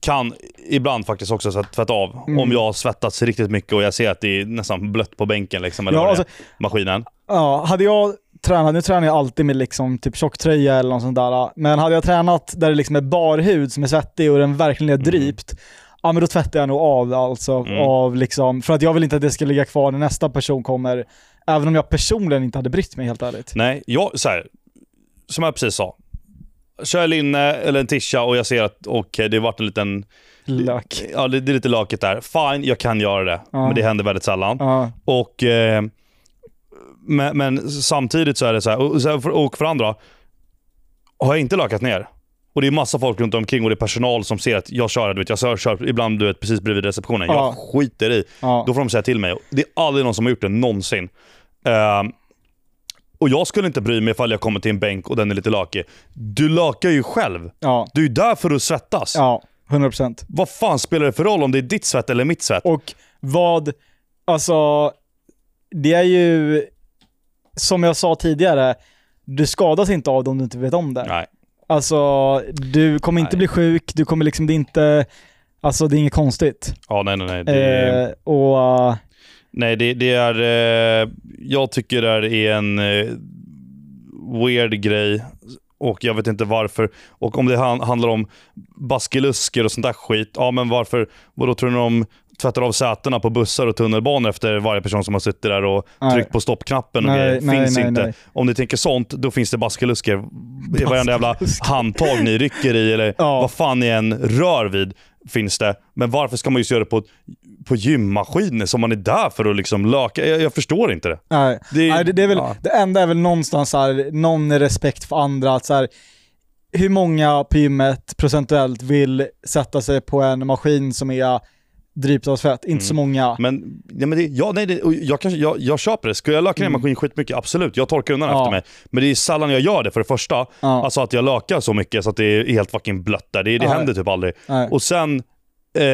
B: kan ibland faktiskt också så här tvätta av
A: Mm.
B: om jag har svettats riktigt mycket och jag ser att det är nästan blött på bänken liksom, eller
A: Ja,
B: vad det är,
A: alltså-
B: maskinen.
A: Ja, hade jag tränar, nu tränar jag alltid med liksom typ tjocktröja eller något sånt där. Men hade jag tränat där det liksom är bar hud som är svettig och den verkligen är drypt, ja men då tvättar jag nog av alltså.
B: Mm.
A: Av liksom, för att jag vill inte att det ska ligga kvar när nästa person kommer, även om jag personligen inte hade brytt mig helt ärligt.
B: Nej, jag, så här, som jag precis sa. Kör linne eller en tisha och jag ser att okej, det har varit en liten...
A: Lök.
B: Ja, det, det är lite lakigt där. Fine, jag kan göra det.
A: Ja.
B: Men det händer väldigt sällan.
A: Ja.
B: Och, eh, men, men samtidigt så är det så här, och, så här, för- och för andra, har jag inte lakat ner och det är massa folk runt omkring och det är personal som ser att jag kör, du vet, jag kör, kör ibland du vet, precis bredvid receptionen.
A: Ja.
B: Jag skiter i.
A: Ja.
B: Då får de säga till mig. Det är aldrig någon som har gjort det någonsin. Ehm, och jag skulle inte bry mig ifall jag kommer till en bänk och den är lite lakig. Du lakar ju själv.
A: Ja.
B: Du är ju där för att svettas.
A: Ja, 100%.
B: Vad fan spelar det för roll om det är ditt svett eller mitt svett?
A: Och vad, alltså, det är ju, som jag sa tidigare, du skadas inte av det om du inte vet om det.
B: Nej.
A: Alltså, du kommer inte
B: Nej.
A: bli sjuk, du kommer liksom, det är inte, alltså det är inget konstigt.
B: Ja, nej, nej, nej. Det är...
A: Eh, och, eh,
B: Nej, det, det är... Eh, jag tycker det här är en eh, weird grej och jag vet inte varför. Och om det han, handlar om baskelusker och sånt där skit, ja men varför? Vadå tror ni de tvättar av sätena på bussar och tunnelbanor efter varje person som har suttit där och
A: Nej.
B: tryckt på stoppknappen och
A: Nej,
B: grejer?
A: nej,
B: Finns
A: nej,
B: inte.
A: nej.
B: Om ni tänker sånt, då finns det baskelusker i varenda jävla handtag ni rycker i eller
A: Ja.
B: vad fan ni än rör vid finns det. Men varför ska man just göra det på, på gymmaskiner som man är där för att liksom löka? Jag, jag förstår inte det.
A: nej.
B: Det
A: Det,
B: är-
A: nej, det, det, är väl,
B: ja.
A: det enda är väl någonstans så här, någon respekt för andra. Att så här, hur många på gymmet procentuellt vill sätta sig på en maskin som är drypt av svett? Inte
B: Mm.
A: så många.
B: Men, nej, men det, ja, nej, det, och jag, kanske, jag, jag köper det. Skulle jag löka ner mm. maskin skitmycket? Absolut, jag torkar undan
A: Ja.
B: efter mig. Men det är sällan jag gör det för det första.
A: Ja.
B: Alltså att jag lökar så mycket så att det är helt fucking blött där. Det, det
A: Ja.
B: händer typ aldrig.
A: Nej.
B: Och sen, eh,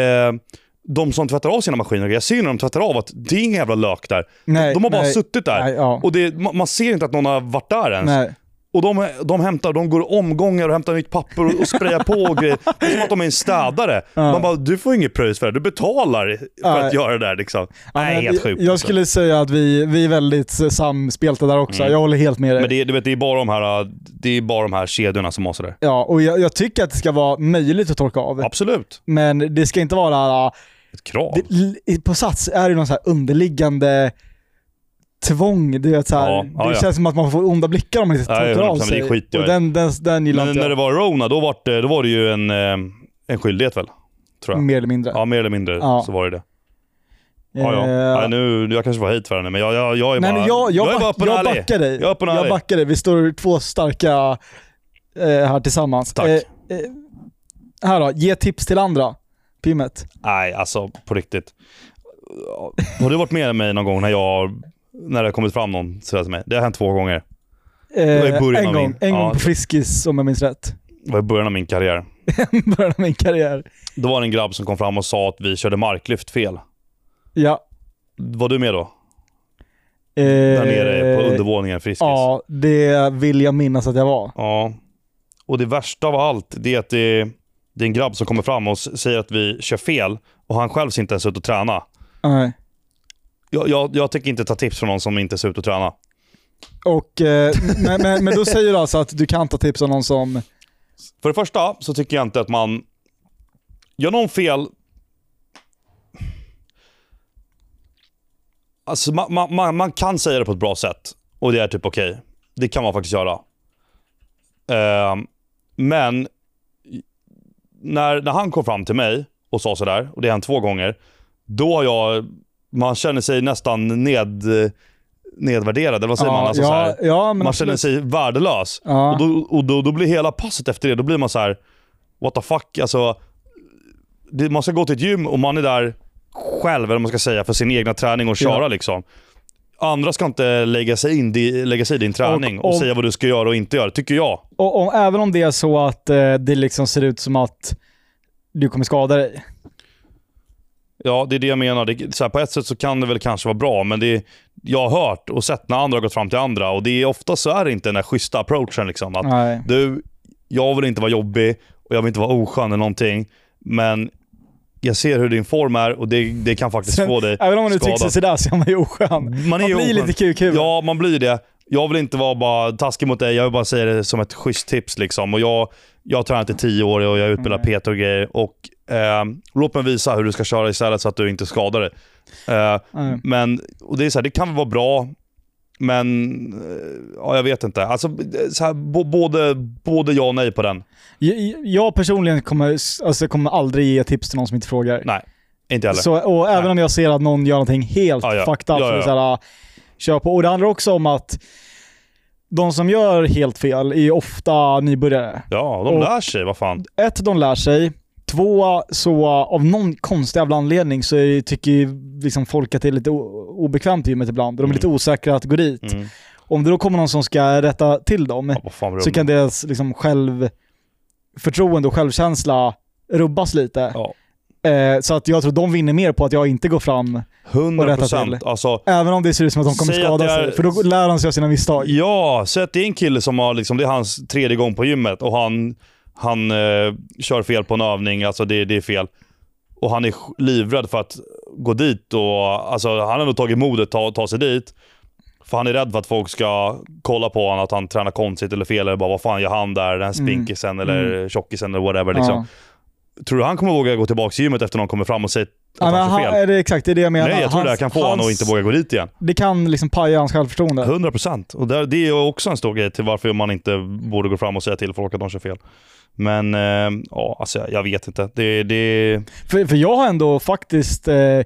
B: de som tvättar av sina maskiner, jag ser ju när de tvättar av att det är ingen jävla lök där.
A: Nej,
B: de har bara
A: nej.
B: suttit där.
A: Nej, ja.
B: Och det, man, man ser inte att någon har varit där ens.
A: Nej.
B: Och de, de hämtar, de går omgångar och hämtar nytt papper och, och sprayar på och grejer. Det är som att de är en städare. Man bara, du får inget pröjs för det. Du betalar för att
A: Nej.
B: göra det där liksom. Nej,
A: men
B: helt
A: jag-
B: sjukt.
A: Jag
B: alltså.
A: skulle säga att vi, vi är väldigt eh, samspelta där också. Jag håller helt med dig.
B: Mm. Men det, är- du vet, det, är bara de här, äh, det är bara de här kedjorna som har sådär.
A: Ja, och jag, jag tycker att det ska vara möjligt att torka av.
B: Absolut.
A: Men det ska inte vara... ah,
B: Ett krav.
A: Det, i- på Sats är det någon så här underliggande tvång. Du vet, så här,
B: Ja, ja,
A: det
B: ja.
A: känns som att man får onda blickar om man inte
B: Ja, jag
A: torkar
B: vet
A: av
B: inte, men
A: sig.
B: det skiter jag
A: och
B: i.
A: den, den, den gillar
B: Men
A: inte
B: när det
A: jag,
B: var Rona, då var det, då var det ju en, eh, en skyldighet väl? Tror jag.
A: mer eller mindre.
B: Ja, mer eller mindre
A: Ja.
B: så var det det. Ja, ja.
A: Eh,
B: Nej, nu, jag kanske var hit för henne, men jag, jag, jag är bara,
A: nej, men jag, jag,
B: är bara
A: back,
B: öppen och
A: jag
B: ärlig.
A: backar dig.
B: Jag är öppen och
A: jag
B: ärlig.
A: backar dig. Vi står två starka eh, här tillsammans.
B: Tack.
A: Eh, eh, här då, ge tips till andra. Pimmet.
B: Nej, alltså på riktigt. Har du varit med mig någon gång när jag när det har kommit fram någon sådär till mig? Det har hänt två gånger.
A: Eh,
B: var i början
A: en
B: av
A: gång,
B: min-
A: en
B: ja.
A: gång på Friskis om jag minns rätt.
B: Det var i början av min karriär.
A: början av min karriär.
B: Då var det en grabb som kom fram och sa att vi körde marklyft fel.
A: Ja.
B: Var du med då?
A: Eh,
B: Där nere på undervåningen, Friskis.
A: Ja, det vill jag minnas att jag var.
B: Ja. Och det värsta av allt, det är att det, det är en grabb som kommer fram och s- säger att vi kör fel och han själv ser inte ens ut att träna.
A: Nej.
B: Jag, jag, jag tänker inte ta tips från någon som inte ser ut att träna.
A: Och, eh, men, men, men då säger du alltså att du kan ta tips av någon som...
B: För det första så tycker jag inte att man... Gör någon fel... Alltså man, man, man, man kan säga det på ett bra sätt. Och det är typ okej. Det kan man faktiskt göra. Ehm, men när, när han kom fram till mig och sa sådär, och det har hänt två gånger. Då har jag... Man känner sig nästan ned, nedvärderad, eller vad säger man? Alltså så här,
A: ja, ja, men
B: man känner
A: absolut.
B: sig värdelös.
A: Ja.
B: Och, då, och då, då blir hela passet efter det, då blir man så här: what the fuck. Alltså, det, man ska gå till ett gym och man är där själv, eller vad man ska säga, för sin egna träning och köra
A: Ja.
B: liksom. Andra ska inte lägga sig, in, di- lägga sig i din träning och,
A: om-
B: säga vad du ska göra och inte göra, tycker jag.
A: Och, och, även om det är så att eh, det liksom ser ut som att du kommer skada dig.
B: Ja, det är det jag menar. Det, så här, på ett sätt så kan det väl kanske vara bra, men det, jag har hört och sett när andra har gått fram till andra och det är ofta så är det inte den där schyssta approachen. Liksom, att
A: Nej.
B: du, jag vill inte vara jobbig och jag vill inte vara oskön eller någonting, men jag ser hur din form är och det, det kan faktiskt få dig
A: Även om man uttrycker sig
B: skadad.
A: sådär så är man ju oskön.
B: Man Mm. är ju
A: blir
B: oskön.
A: lite kukhuvud.
B: Ja, man blir det. Jag vill inte vara bara taskig mot dig, jag vill bara säga det som ett schysst tips. Liksom. Och jag, jag har tränat i tio år och jag utbildar
A: Mm.
B: PT och grejer. Och, eh, låt mig visa hur du ska köra istället så att du inte skadar dig. Eh,
A: Nej.
B: men, och det, är så här, det kan vara bra, men eh, ja, jag vet inte. Alltså, eh, så här, bo- både, både ja och nej på den.
A: Jag- Jag personligen kommer, s- alltså, kommer aldrig ge tips till någon som inte frågar.
B: Nej, inte heller.
A: Så, och även
B: Nej.
A: om jag ser att någon gör någonting helt
B: Ja, ja.
A: fucked up, så
B: Ja,
A: är
B: ja,
A: det så här, ah, kör på. Och det handlar också om att de som gör helt fel är ofta nybörjare.
B: Ja, de
A: Och-
B: lär sig. Vad fan.
A: Ett, de lär sig. Två, så av någon konstig jävla anledning så är- tycker ju liksom folk att det är lite o- obekvämt i gymmet ibland. De är lite osäkra att gå dit.
B: Mm.
A: Om det då kommer någon som ska rätta till dem
B: Ja, vad fan blir
A: så
B: de-
A: kan deras liksom självförtroende och självkänsla rubbas lite.
B: Ja.
A: Eh, så att jag tror de vinner mer på att jag inte går fram.
B: 100
A: rätta till.
B: procent. Alltså,
A: Även om det ser ut som att de kommer
B: Säg att
A: skada
B: det är-
A: sig. För då lär de sig av sina misstag.
B: ja, så att det är en kille som har, liksom, det är hans tredje gång på gymmet och han, han eh, kör fel på en övning. Alltså det, det är fel. Och han är sj- livrädd för att gå dit. Och, alltså, han har nog tagit modet att ta, ta sig dit. För han är rädd för att folk ska kolla på honom, att han tränar konstigt eller fel. Eller bara, vad fan gör han där? Den här spinkisen eller tjockisen eller whatever. Liksom.
A: Mm. Ja.
B: Tror du han kommer våga gå tillbaka till gymmet efter någon kommer fram och säger
A: Ja,
B: att
A: men
B: han
A: han,
B: kör fel?
A: är det exakt, det är det jag menar.
B: Nej, jag tror det här
A: Hans-
B: kan få honom att
A: hans-
B: inte våga gå dit igen.
A: Det kan liksom paja hans självförtroende.
B: 100 procent. Och där, det är ju också en stor grej till varför man inte borde gå fram och säga till folk att de kör fel. Men eh, ja, alltså, jag- jag vet inte. Det, det,
A: För, för jag har ändå faktiskt eh,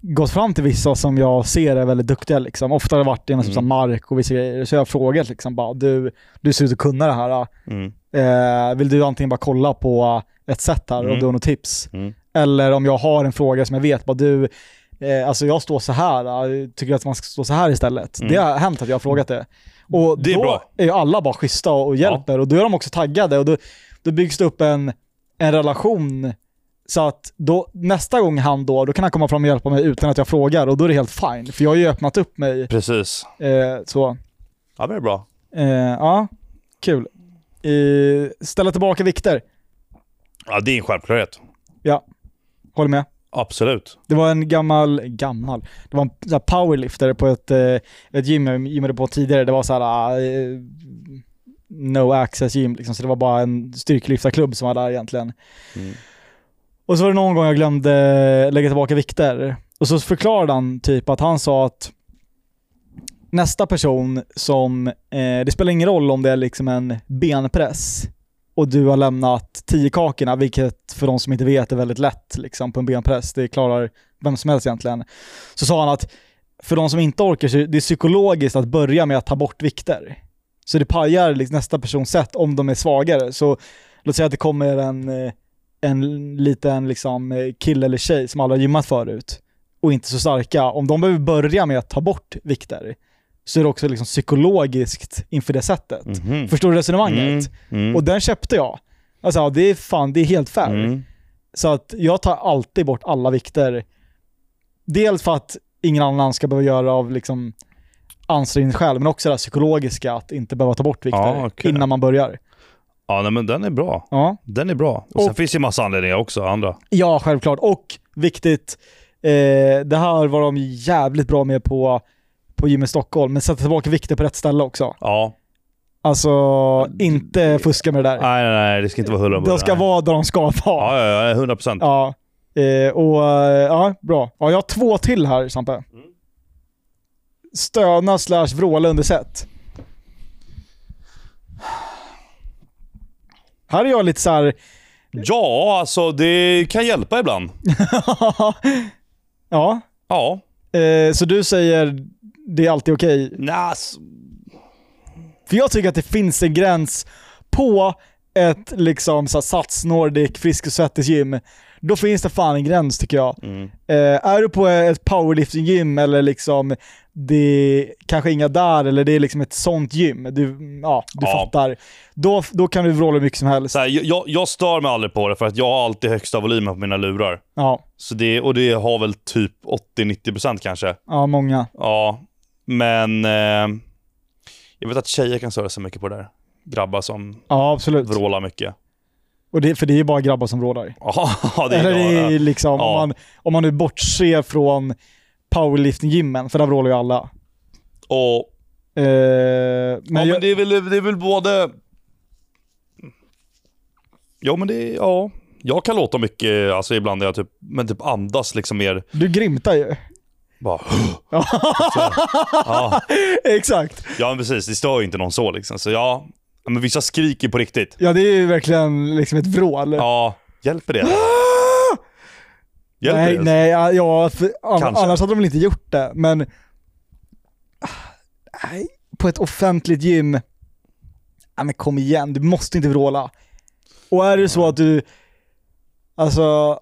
A: gått fram till vissa som jag ser är väldigt duktiga. Liksom. Ofta har det varit inom
B: Mm.
A: mm. Mark och vissa grejer. Så jag har frågat liksom, bara, du, du ser ut att kunna det här.
B: mm,
A: Eh, vill du antingen bara kolla på ett sätt här om
B: Mm.
A: du har något tips?
B: Mm.
A: Eller om jag har en fråga som jag vet, bara du, eh, alltså jag står så här, eh, tycker att man ska stå så här istället?
B: Mm.
A: Det har hänt att jag har frågat det. Och
B: Det är
A: då
B: bra.
A: är ju alla bara schyssta och och hjälper och då är de också taggade och då, då byggs det upp en, en relation så att då, nästa gång han då, då kan han komma fram och hjälpa mig utan att jag frågar och då är det helt fine. För jag har ju öppnat upp mig
B: precis.
A: eh, så.
B: Ja, men det är bra.
A: Eh, ja, kul. Eh, ställa tillbaka vikter.
B: Ja, det är en självklarhet.
A: Håller med.
B: Absolut.
A: Det var en gammal, gammal, det var en sån här powerlifter på ett, eh, ett gym jag gymmade på tidigare. Det var så här eh, no access gym liksom, så det var bara en styrkelyftarklubb som var där egentligen.
B: Mm.
A: Och så var det någon gång jag glömde lägga tillbaka vikter. Och så förklarade han typ att han sa att nästa person som, eh, det spelar ingen roll om det är liksom en benpress och du har lämnat 10 kakorna, vilket för de som inte vet är väldigt lätt liksom, på en benpress. Det klarar vem som helst egentligen. Så sa han att för de som inte orkar, så är det är psykologiskt att börja med att ta bort vikter. Så det pajar liksom nästa persons sätt om de är svagare. Så låt säga att det kommer en, eh, en liten liksom, eh, kille eller tjej som aldrig har gymmat förut och inte så starka. Om de behöver börja med att ta bort vikter så är det också liksom psykologiskt inför det sättet.
B: Mhm.
A: Förstår du resonemanget?
B: Mm, mm,
A: Och den köpte jag. Alltså ja, det är fan, det är helt fair.
B: mm.
A: Så att jag tar alltid bort alla vikter. Dels för att ingen annan ska behöva göra av liksom ansträngning själv, men också det här psykologiska att inte behöva ta bort vikter
B: Ja, okej.
A: innan man börjar.
B: Ja, nej, men den är bra.
A: Ja,
B: Den är bra. Och sen
A: Och-
B: finns det ju massa anledningar också, andra.
A: ja självklart. Och viktigt, eh, det här var de jävligt bra med på, på Gym i Stockholm, men sätta tillbaka vikter på rätt ställe också.
B: Ja.
A: Alltså, inte fuska med det där.
B: Nej, nej, nej. Det ska inte vara huller om
A: De ska
B: nej.
A: vara där de ska vara.
B: Ja, ja, ja. 100 procent.
A: Ja, eh, och eh, ja, bra. Ja, jag har två till här Sampe. Stöna slash vråla under set. Här är jag lite så här.
B: Ja, alltså det kan hjälpa ibland.
A: ja,
B: Ja.
A: eh, så du säger det är alltid okej.
B: Nej, ass-
A: För jag tycker att det finns en gräns på ett liksom så här, Sats Nordic Frisk och Svettis gym. Då finns det fan en gräns tycker jag.
B: Mm.
A: Eh, är du på ett powerlifting-gym eller liksom det är kanske inga där eller det är liksom ett sånt gym, du, ja, du
B: Ja.
A: fattar. Då, då kan du vråla hur mycket som helst.
B: Så här, jag, jag stör mig aldrig på det för att jag har alltid högsta volymen på mina lurar.
A: Ja,
B: Så det, och det har väl typ 80-90% kanske.
A: ja, många.
B: Ja, men eh, jag vet att tjejer kan störa sig mycket på det där. Grabbar som
A: Ja, absolut.
B: vrålar mycket.
A: Och det, för det är ju bara grabbar som vrålar.
B: Ja, det är
A: Eller
B: jag.
A: det är liksom,
B: Ja.
A: om, man, om man nu bortser från powerlifting-gymmen, för där vrålar ju alla.
B: Och
A: Eh, men,
B: ja, men
A: jag,
B: det är väl, det är väl både... Ja, men det är... Ja. Jag kan låta mycket, alltså ibland är jag typ, men typ andas liksom mer
A: du grimtar ju.
B: bara... ja.
A: Exakt.
B: ja, men precis. Det stör ju inte någon så liksom. Så ja, Ja, men vissa skriker på riktigt.
A: Ja, det är ju verkligen liksom ett vrål.
B: Ja, hjälper det? Hjälper
A: nej,
B: det?
A: nej, ja, ja, för, an-
B: Kanske.
A: annars hade de väl inte gjort det, men... Ah, Nej, på ett offentligt gym... Ja, men kom igen, du måste inte vråla. Och är det så att du... Alltså...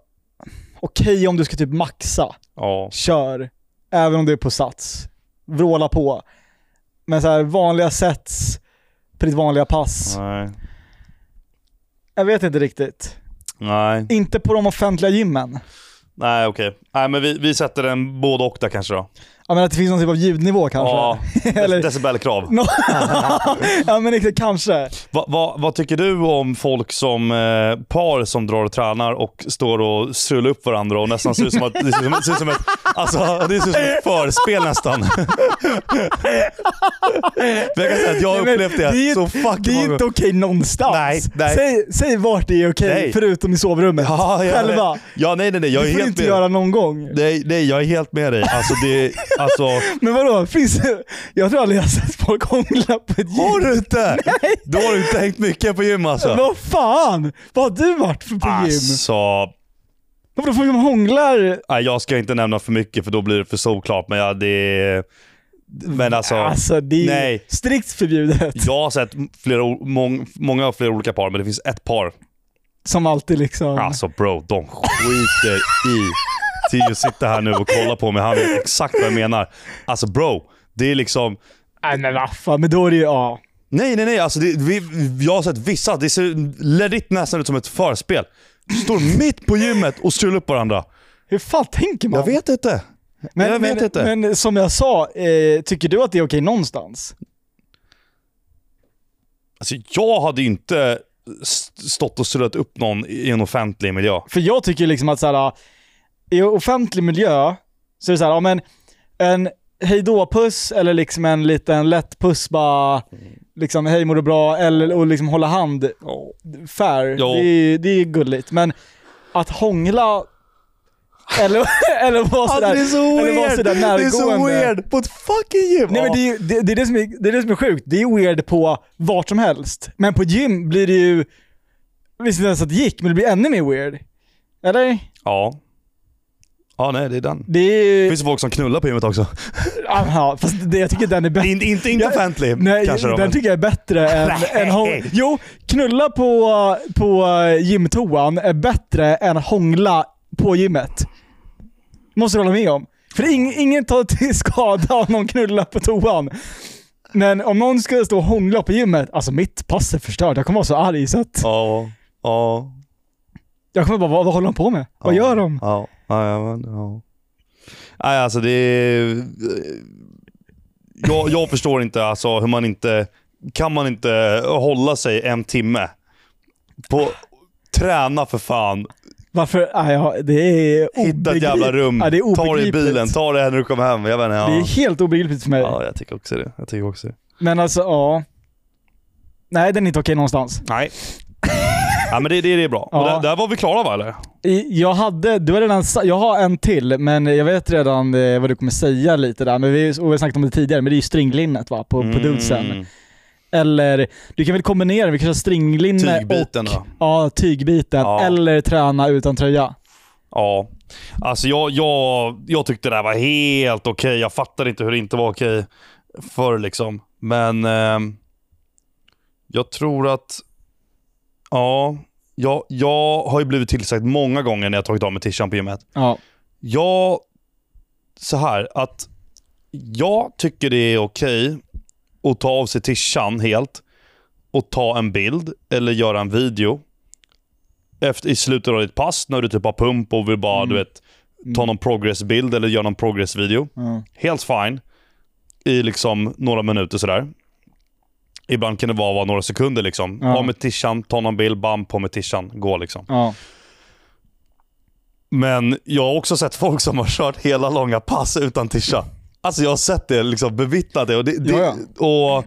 A: Okej om du ska typ maxa,
B: Ja.
A: kör. Även om du är på sats. Vråla på. Men så här, vanliga sets på ditt vanliga pass.
B: Nej.
A: Jag vet inte riktigt.
B: Nej,
A: Inte på de offentliga gymmen.
B: nej okej. Nej, men vi, vi sätter en både och där kanske då.
A: Ja men att det finns någon typ av ljudnivå kanske.
B: Ja,
A: Eller-
B: dec- decibelkrav.
A: No. ja men exakt, kanske.
B: Va, va, vad tycker du om folk som eh, par som drar och tränar och står och strular upp varandra och nästan ser ut som, att, det ser, ut- ser ut som ett, alltså, det ser ut som ett förspel nästan. Men jag kan säga att jag
A: Nej,
B: har
A: men
B: upplevt det,
A: det är ju-
B: så fuck
A: Det är inte okej någonstans.
B: Nej, nej.
A: Säg, säg vart det är okej,
B: Nej.
A: förutom i sovrummet.
B: ja, ja,
A: Själva.
B: Nej, ja, nej, nej, nej. Jag
A: Det
B: är
A: får du
B: helt
A: inte
B: med
A: göra någon gång.
B: Nej, nej, jag är helt med dig. Alltså, det, alltså,
A: Men vadå, finns det... Jag tror aldrig jag har sett folk hångla på ett gym.
B: har du inte? Nej. Då har du inte hängt mycket på gym alltså.
A: Vad fan? Vad har du varit för på gym?
B: Alltså,
A: Vadå, folk som hånglar?
B: nej, jag ska inte nämna för mycket för då blir det för solklart. Men ja, det... Men alltså,
A: Alltså det är
B: nej.
A: strikt förbjudet.
B: jag har sett flera, o- mång, många flera olika par, men det finns ett par.
A: Som alltid liksom.
B: Alltså bro, de skiter i. Tio sitter här nu och kollar på mig, han vet exakt vad jag menar. Alltså bro, det är liksom...
A: Nej men vaffa, men då är det ju, ja.
B: Nej, nej, nej. Alltså det, vi, jag har sett vissa. Det ser legit nästan ut som ett förspel. Står mitt på gymmet och strular upp varandra.
A: Hur fan tänker man?
B: Jag vet inte.
A: Men,
B: jag vet
A: men,
B: inte.
A: men som jag sa, eh, tycker du att det är okej någonstans?
B: Alltså, jag hade ju inte st- stått och strulat upp någon i en offentlig miljö.
A: För jag tycker liksom att så här, i offentlig miljö så är det så här, ja men en hejdå-puss eller liksom en liten lätt puss bara, liksom hej mår du bra, eller och liksom hålla hand fair.
B: Ja.
A: Det är, det är gulligt. Men att hångla eller, eller vara sådär, eller vara sådär närgående.
B: På ett fucking gym!
A: Nej men det är, ju- det, det, är det, som är, det är det som är sjukt. Det är weird på vart som helst. Men på gym blir det ju... Jag visste inte ens att det gick, men det blir ännu mer weird. Eller?
B: Ja. Ja, nej, det är den.
A: Det är
B: Det
A: ju...
B: finns folk som knullar på gymmet också.
A: Ja, fast det, jag tycker den är bättre.
B: In, inte inte
A: Ja,
B: offentlig
A: Nej,
B: kanske då.
A: den
B: men-
A: tycker jag är bättre än, än hång... Jo, knulla på, på eh, gymtoan är bättre än hångla på gymmet. Måste du hålla med om. För ing, ingen tar till skada om någon knullar på toan. Men om någon skulle stå och hångla på gymmet, alltså mitt pass är förstört. Jag kommer vara så arg så att
B: Ja, ja.
A: jag kommer bara, vad, vad håller de på med? Vad
B: Ja,
A: gör de?
B: Ja, ja, ja, men, ja. Nej, alltså det är... Jag, jag förstår inte alltså, hur man inte... Kan man inte hålla sig en timme? På... Träna för fan.
A: Varför? Ah, ja, det är
B: Hitta ett jävla
A: obegrip-
B: rum.
A: Ja, det är
B: ta dig i
A: obegripligt.
B: bilen. Ta dig när du kommer hem. Jag vet inte.
A: Det är
B: Ja.
A: helt obegripligt för mig.
B: ja, jag tycker också det. Jag tycker också det.
A: Men alltså, ja. Nej, den är inte okej någonstans.
B: Nej. ja, men det, det, det är bra. Och
A: Ja.
B: där, där var vi klara va, eller?
A: I- Jag hade, du har redan sa- jag har en till, men jag vet redan eh, vad du kommer säga lite där. Men vi, och vi har snackat om det tidigare, men det är ju stringlinnet va, på, på dudesen.
B: Mm.
A: Eller, du kan väl kombinera det, vi kan köra stringlinne
B: Tygbiten
A: och
B: då.
A: ja, tygbiten.
B: Ja.
A: Eller träna utan tröja.
B: Ja. Alltså jag, jag, jag tyckte det där var helt okej. Jag fattar inte hur det inte var okej förr liksom. Men ehm, jag tror att... Ja, jag, jag har ju blivit tillsagd många gånger när jag tagit av mig tishan på gymmet.
A: Ja.
B: Jag... Så här att... Jag tycker det är okej att ta av sig tishan helt och ta en bild eller göra en video efter, i slutet av ditt pass när du typ har pump och vill bara du vet, ta någon progressbild eller göra någon progressvideo.
A: Ja.
B: Helt fine. I liksom några minuter sådär. Ibland kan det vara, vara några sekunder liksom.
A: Ja.
B: Av med tishan, ta någon bild, bam, på med tishan, gå liksom.
A: ja.
B: Men jag har också sett folk som har kört hela långa pass utan tisha. Alltså jag har sett det, liksom bevittnat det. Och, det, det,
A: Ja,
B: och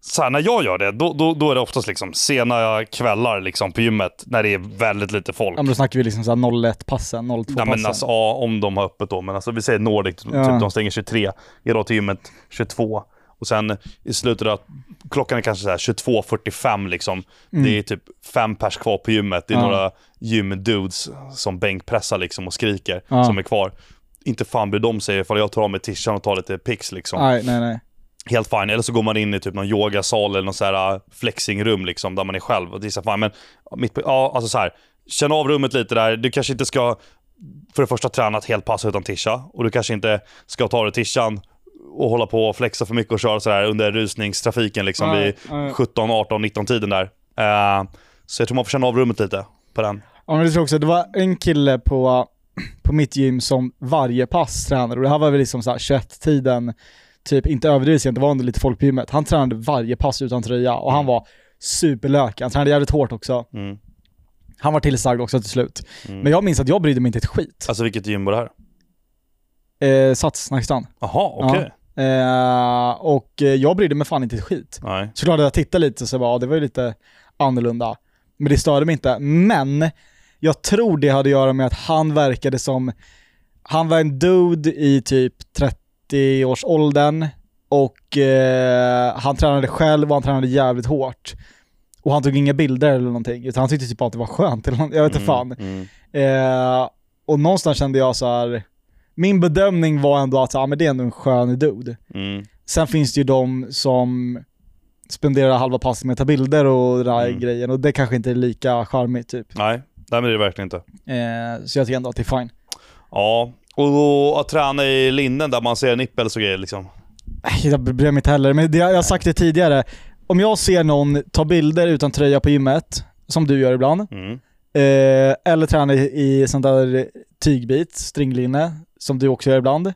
B: så här, när jag gör det, då, då, då är det oftast liksom sena kvällar liksom på gymmet när det är väldigt lite folk.
A: Ja, men då snackar vi liksom såhär 01-passen,
B: Nej, men
A: 02-passen.
B: alltså, ja, om de har öppet då, men alltså, vi säger Nordic,
A: Ja.
B: typ, de stänger 23. Jag drar till gymmet 22. Och sen i slutet av klockan är kanske så här 22.45 liksom. Det är typ fem pers kvar på gymmet. Det är
A: Mm. Ja.
B: några gymdudes som bänkpressar liksom och skriker
A: Ja.
B: som är kvar. Inte fan bryr de sig ifall jag tar av mig tishan och tar lite pix liksom.
A: Nej, nej, nej.
B: Helt fine. Eller så går man in i typ någon yogasal eller någon så här äh, flexingrum liksom, där man är själv. Och det är så här, fan, men mitt, ja, alltså så här, känn av rummet lite där. Du kanske inte ska för det första träna ett helt pass utan tisha. Och du kanske inte ska ta dig tishan och hålla på och flexa för mycket och köra så här under rusningstrafiken liksom
A: Nej,
B: vid
A: nej.
B: 17, 18, 19 tiden där. Eh, så jag tror man får känna av rummet lite på den.
A: Ja, men det tror jag också. Det var en kille på, på mitt gym som varje pass tränade och det här var väl liksom såhär 21-tiden, typ inte överdrivet sent, det var ändå lite folk på gymmet. Han tränade varje pass utan tröja och han var superlök. Han tränade jävligt hårt också.
B: Mm.
A: Han var tillsagd också till slut. Men jag minns att jag brydde mig inte ett skit.
B: Alltså vilket gym var det här?
A: Eh, Sats, Snackistan.
B: Jaha, okej.
A: Eh, och eh, jag brydde mig fan inte ett skit.
B: Nej.
A: Såklart att jag tittade lite så jag bara, ja, det var ju lite annorlunda. Men det störde mig inte. Men jag tror det hade att göra med att han verkade som, han var en dude i typ 30-årsåldern och eh, han tränade själv och han tränade jävligt hårt. Och han tog inga bilder eller någonting, utan han tyckte typ att det var skönt eller något, jag vet inte fan.
B: Mm.
A: Eh, och någonstans kände jag så här. min bedömning var ändå att ah, men det är ändå en skön dude.
B: Mm.
A: Sen finns det ju de som spenderar halva passet med att ta bilder och den där
B: Mm.
A: grejen och det kanske inte är lika charmigt typ.
B: Nej. Nej, men det är det verkligen inte.
A: Eh, så jag tycker ändå att det är fine.
B: Ja, och då att träna i linnen där man ser nippels och grejer liksom.
A: Nej, Äh, Jag bryr mig inte heller, men det, jag har sagt det tidigare. Om jag ser någon ta bilder utan tröja på gymmet, som du gör ibland,
B: Mm.
A: eh, eller träna i, i sånt där tygbit, stringlinne, som du också gör ibland.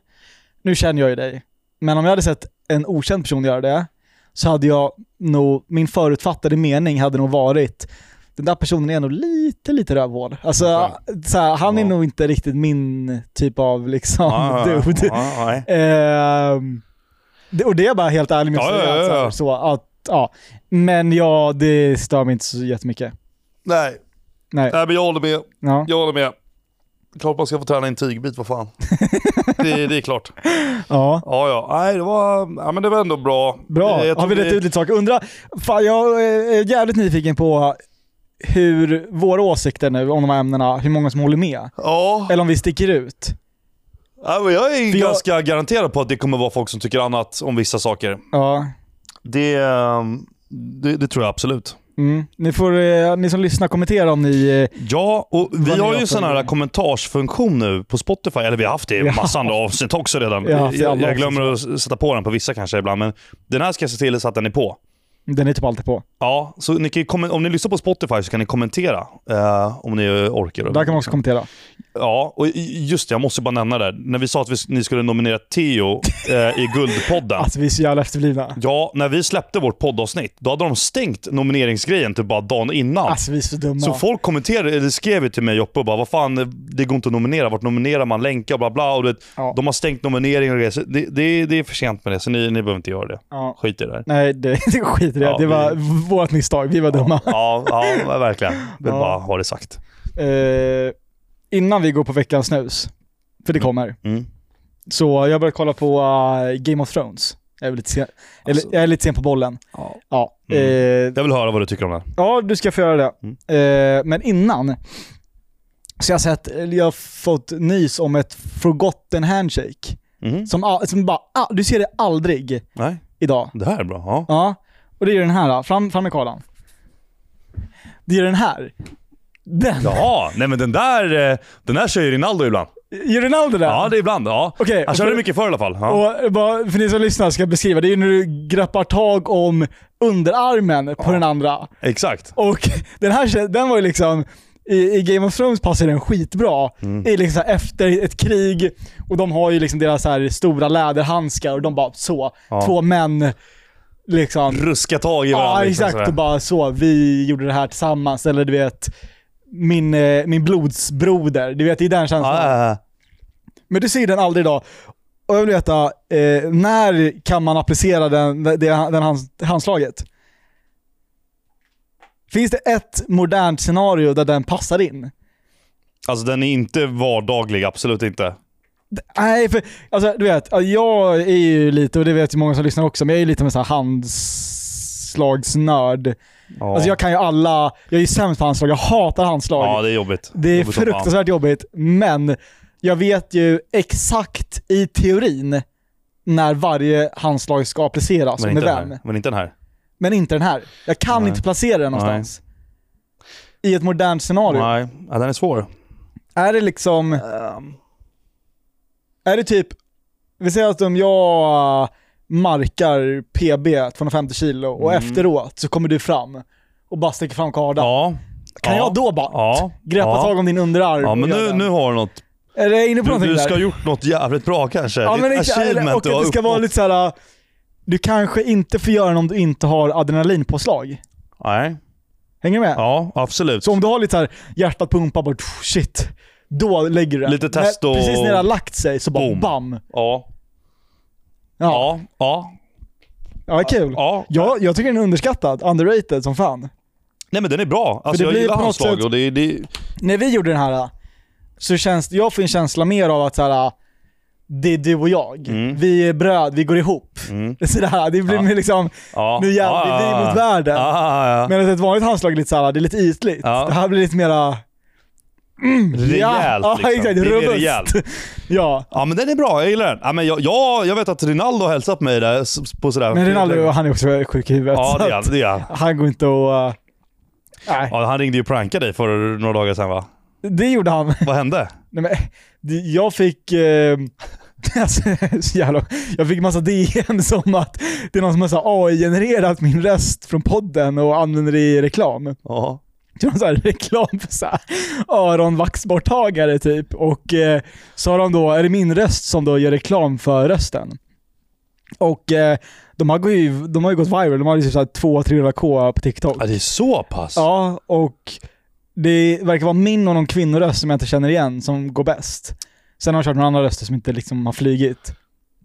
A: Nu känner jag ju dig, men om jag hade sett en okänd person göra det, så hade jag nog, min förutfattade mening hade nog varit den där personen är nog lite, lite rövhål. Alltså, så här, han är
B: Ja.
A: nog inte riktigt min typ av liksom
B: Ja, ja, ja.
A: dude.
B: Ja, nej.
A: Ehm, det, och det är jag bara helt ärlig med att
B: Ja,
A: säga.
B: ja, ja,
A: att så här,
B: ja.
A: Så att, ja. Men ja, det stör mig inte så jättemycket.
B: Nej.
A: Nej.
B: Nej, men jag håller med.
A: Ja.
B: Jag håller med. Klart man ska få träna i en tygbit, vad fan. det, det är klart.
A: ja.
B: Ja, ja. Nej, det var, ja, men det var ändå bra. Eh,
A: Bra,
B: jag
A: har vi
B: tror
A: rätt ut lite saker? Undra, fan, jag är jävligt nyfiken på hur våra åsikter nu om de här ämnena, hur många som håller med.
B: Ja,
A: Eller om vi sticker ut.
B: Ja, men jag är
A: För jag-
B: ganska garanterad på att det kommer vara folk som tycker annat om vissa saker.
A: Ja.
B: Det, ehm, det, det tror jag absolut.
A: Mm. Ni, får, eh, ni som lyssnar kommentera om ni... eh,
B: Ja, och vi
A: Vad ni
B: har
A: gör
B: ju
A: för
B: sån här
A: någonting.
B: kommentarsfunktion nu på Spotify. Eller vi har haft det i
A: Ja.
B: massa andra avsnitt också redan.
A: Vi har haft det i
B: jag,
A: alla
B: jag glömmer att s- sätta på den på vissa kanske ibland, men den här ska jag se till så att den är på.
A: Den är typ alltid på.
B: Ja, så ni kan ju kommen- om ni lyssnar på Spotify så kan ni kommentera eh, om ni orkar.
A: Där kan man också kommentera.
B: Ja, och i- just det, jag måste bara nämna det. här. När vi sa att vi, s- ni skulle nominera Theo eh, i Guldpodden.
A: Alltså vi är så jävla efterblivna.
B: Ja, när vi släppte vårt poddavsnitt, då hade de stängt nomineringsgrejen typ bara dagen innan.
A: Alltså vi är så dumma.
B: Så folk kommenterade, eller skrev ju till mig Joppe och bara vad fan, det går inte att nominera. Vart nominerar man? Länkar bla bla. Och det,
A: Ja.
B: De har stängt nomineringen och grejer. Så det, det, det är för sent med det, så ni, ni behöver inte göra det.
A: ja.
B: Skit i det där.
A: Nej, det, det skit i det.
B: Ja,
A: det
B: vi-
A: var vårt misstag. Vi var dumma.
B: Ja, ja verkligen. Vill
A: Ja.
B: bara ha det sagt.
A: Eh, innan vi går på veckans snus, för det kommer.
B: Mm.
A: Så jag började kolla på eh, Game of Thrones. Jag är lite sen, eller,
B: Alltså-
A: jag är lite sen på bollen.
B: Ja.
A: Ja,
B: Mm.
A: eh,
B: Jag vill höra vad du tycker om det.
A: ja du ska få göra det.
B: Mm.
A: Eh, men innan, så jag har sett, eller jag har fått nys om ett forgotten handshake.
B: Mhm.
A: Som, all- som bara, ah, du ser det aldrig
B: Nej,
A: idag.
B: det här är bra. Ja.
A: Ja, och det är den här. ah, Fram, fram med kolan. Det är den här. Den.
B: Jaha, nej men den där, eh, den där kör ju Rinaldo ibland.
A: Gör den aldrig det?
B: Ja, Alltså, det är ibland. Ja.
A: Okej,
B: Han
A: och
B: körde
A: för-
B: mycket förr i alla fall. Ja.
A: Och bara, för ni som lyssnar ska jag beskriva, det är ju när du greppar tag om underarmen på den andra.
B: Exakt.
A: Och den här den var ju liksom, i, i Game of Thrones passade den skitbra.
B: Mm.
A: I liksom efter ett krig, och de har ju liksom deras så här stora läderhandskar och de bara så,
B: Ja.
A: två män liksom.
B: Ruska tag i varandra.
A: Ja
B: liksom,
A: exakt, och
B: sådär.
A: bara så, vi gjorde det här tillsammans, eller du vet, min, eh, min blodsbroder. Du vet, det är den känslan.
B: Ja, ja, ja.
A: Men du ser den aldrig idag. Och jag vill veta, eh, när kan man applicera den, det, den hands, handslaget? Finns det ett modernt scenario där den passar in?
B: Alltså den är inte vardaglig, absolut inte.
A: Nej, för alltså, du vet, jag är ju lite, och det vet ju många som lyssnar också, men jag är ju lite med så här handslagsnörd.
B: Ja,
A: Alltså jag kan ju alla, jag är ju sämst på handslag, jag hatar handslag.
B: ja det är jobbigt.
A: Det är
B: Jobbigt som fan.
A: fruktansvärt jobbigt, men jag vet ju exakt i teorin när varje handslag ska appliceras och
B: Men
A: med
B: inte, den
A: vem.
B: här. men inte den här.
A: Men inte den här. Jag kan
B: Nej.
A: inte placera den någonstans. I ett modernt scenario.
B: Nej, ja, den är
A: Ehm,
B: svår.
A: Är det liksom... Är det typ... Vi säger att om jag markar PB 250 kilo och
B: Mm.
A: efteråt så kommer du fram och bara sticker fram kardan.
B: Ja.
A: Kan
B: ja,
A: jag då bara
B: Ja.
A: greppa
B: ja.
A: tag om din underarm
B: Ja, men
A: och göra
B: nu,
A: den?
B: nu har du något.
A: Är det inne på
B: Du,
A: någonting
B: du
A: där?
B: ska ha gjort något jävligt bra kanske.
A: Ja,
B: Ditt
A: men inte, eller,
B: achievement
A: och
B: du har
A: att det ska vara
B: uppnått.
A: lite så här. du kanske inte får göra den om du inte har adrenalinpåslag.
B: Nej.
A: Hänger du med?
B: Ja, absolut.
A: Så om du har lite så här hjärtat pumpar, bara "Pff, shit, då lägger du den.
B: Lite test
A: Men
B: och-
A: Precis när det har lagt sig så bara
B: Boom.
A: bam.
B: Ja.
A: Ja,
B: Ja. Ja.
A: ja. det är kul. Ja.
B: ja.
A: Jag, tycker den är underskattad, underrated som fan.
B: Nej men den är bra.
A: det
B: Alltså jag
A: blir
B: gillar
A: på något
B: handslag
A: sätt-
B: och det, det...
A: När vi gjorde den här så känns jag får en känsla mer av att så här, det är du och jag.
B: Mm.
A: Vi är bröd, vi går ihop.
B: Mm.
A: Det, är så där, det blir
B: Ja.
A: mer liksom,
B: Ja.
A: nu jävlar, det är vi mot världen.
B: Ja, ja, ja.
A: Medan ett vanligt handslag är lite såhär, det är lite ytligt.
B: Ja.
A: Det här blir lite mera... Mm,
B: Rejält,
A: ja,
B: liksom.
A: exakt.
B: Det blir
A: Robust.
B: rejält.
A: Ja.
B: Ja men den är bra, jag gillar den. Ja, men jag, jag, jag vet att Rinaldo har hälsat mig där s- s- på sådär...
A: Men Rinaldo, han är också sjuk i huvudet.
B: Ja det är han.
A: så
B: Det är han.
A: att han går inte och... eh, nej,
B: Ja, han ringde ju och prankade dig för några dagar sedan va?
A: det gjorde han.
B: Vad hände?
A: Nej, men, det- jag fick... Eh, alltså, så jävla, jag fick massa DM som att det är någon som har så här AI-genererat min röst från podden och använder det i reklam.
B: Ja.
A: Det var någon så här reklam för så här öronvaxborttagare typ. Och eh, så har de då, är det min röst som då gör reklam för rösten? Och eh, de, har går ju, de har ju gått viral, de har ju typ 200-300k på TikTok.
B: ja det är så pass?
A: Ja, och det verkar vara min och någon kvinnoröst som jag inte känner igen som går bäst. Sen har jag kört några andra röster som inte liksom har flygit.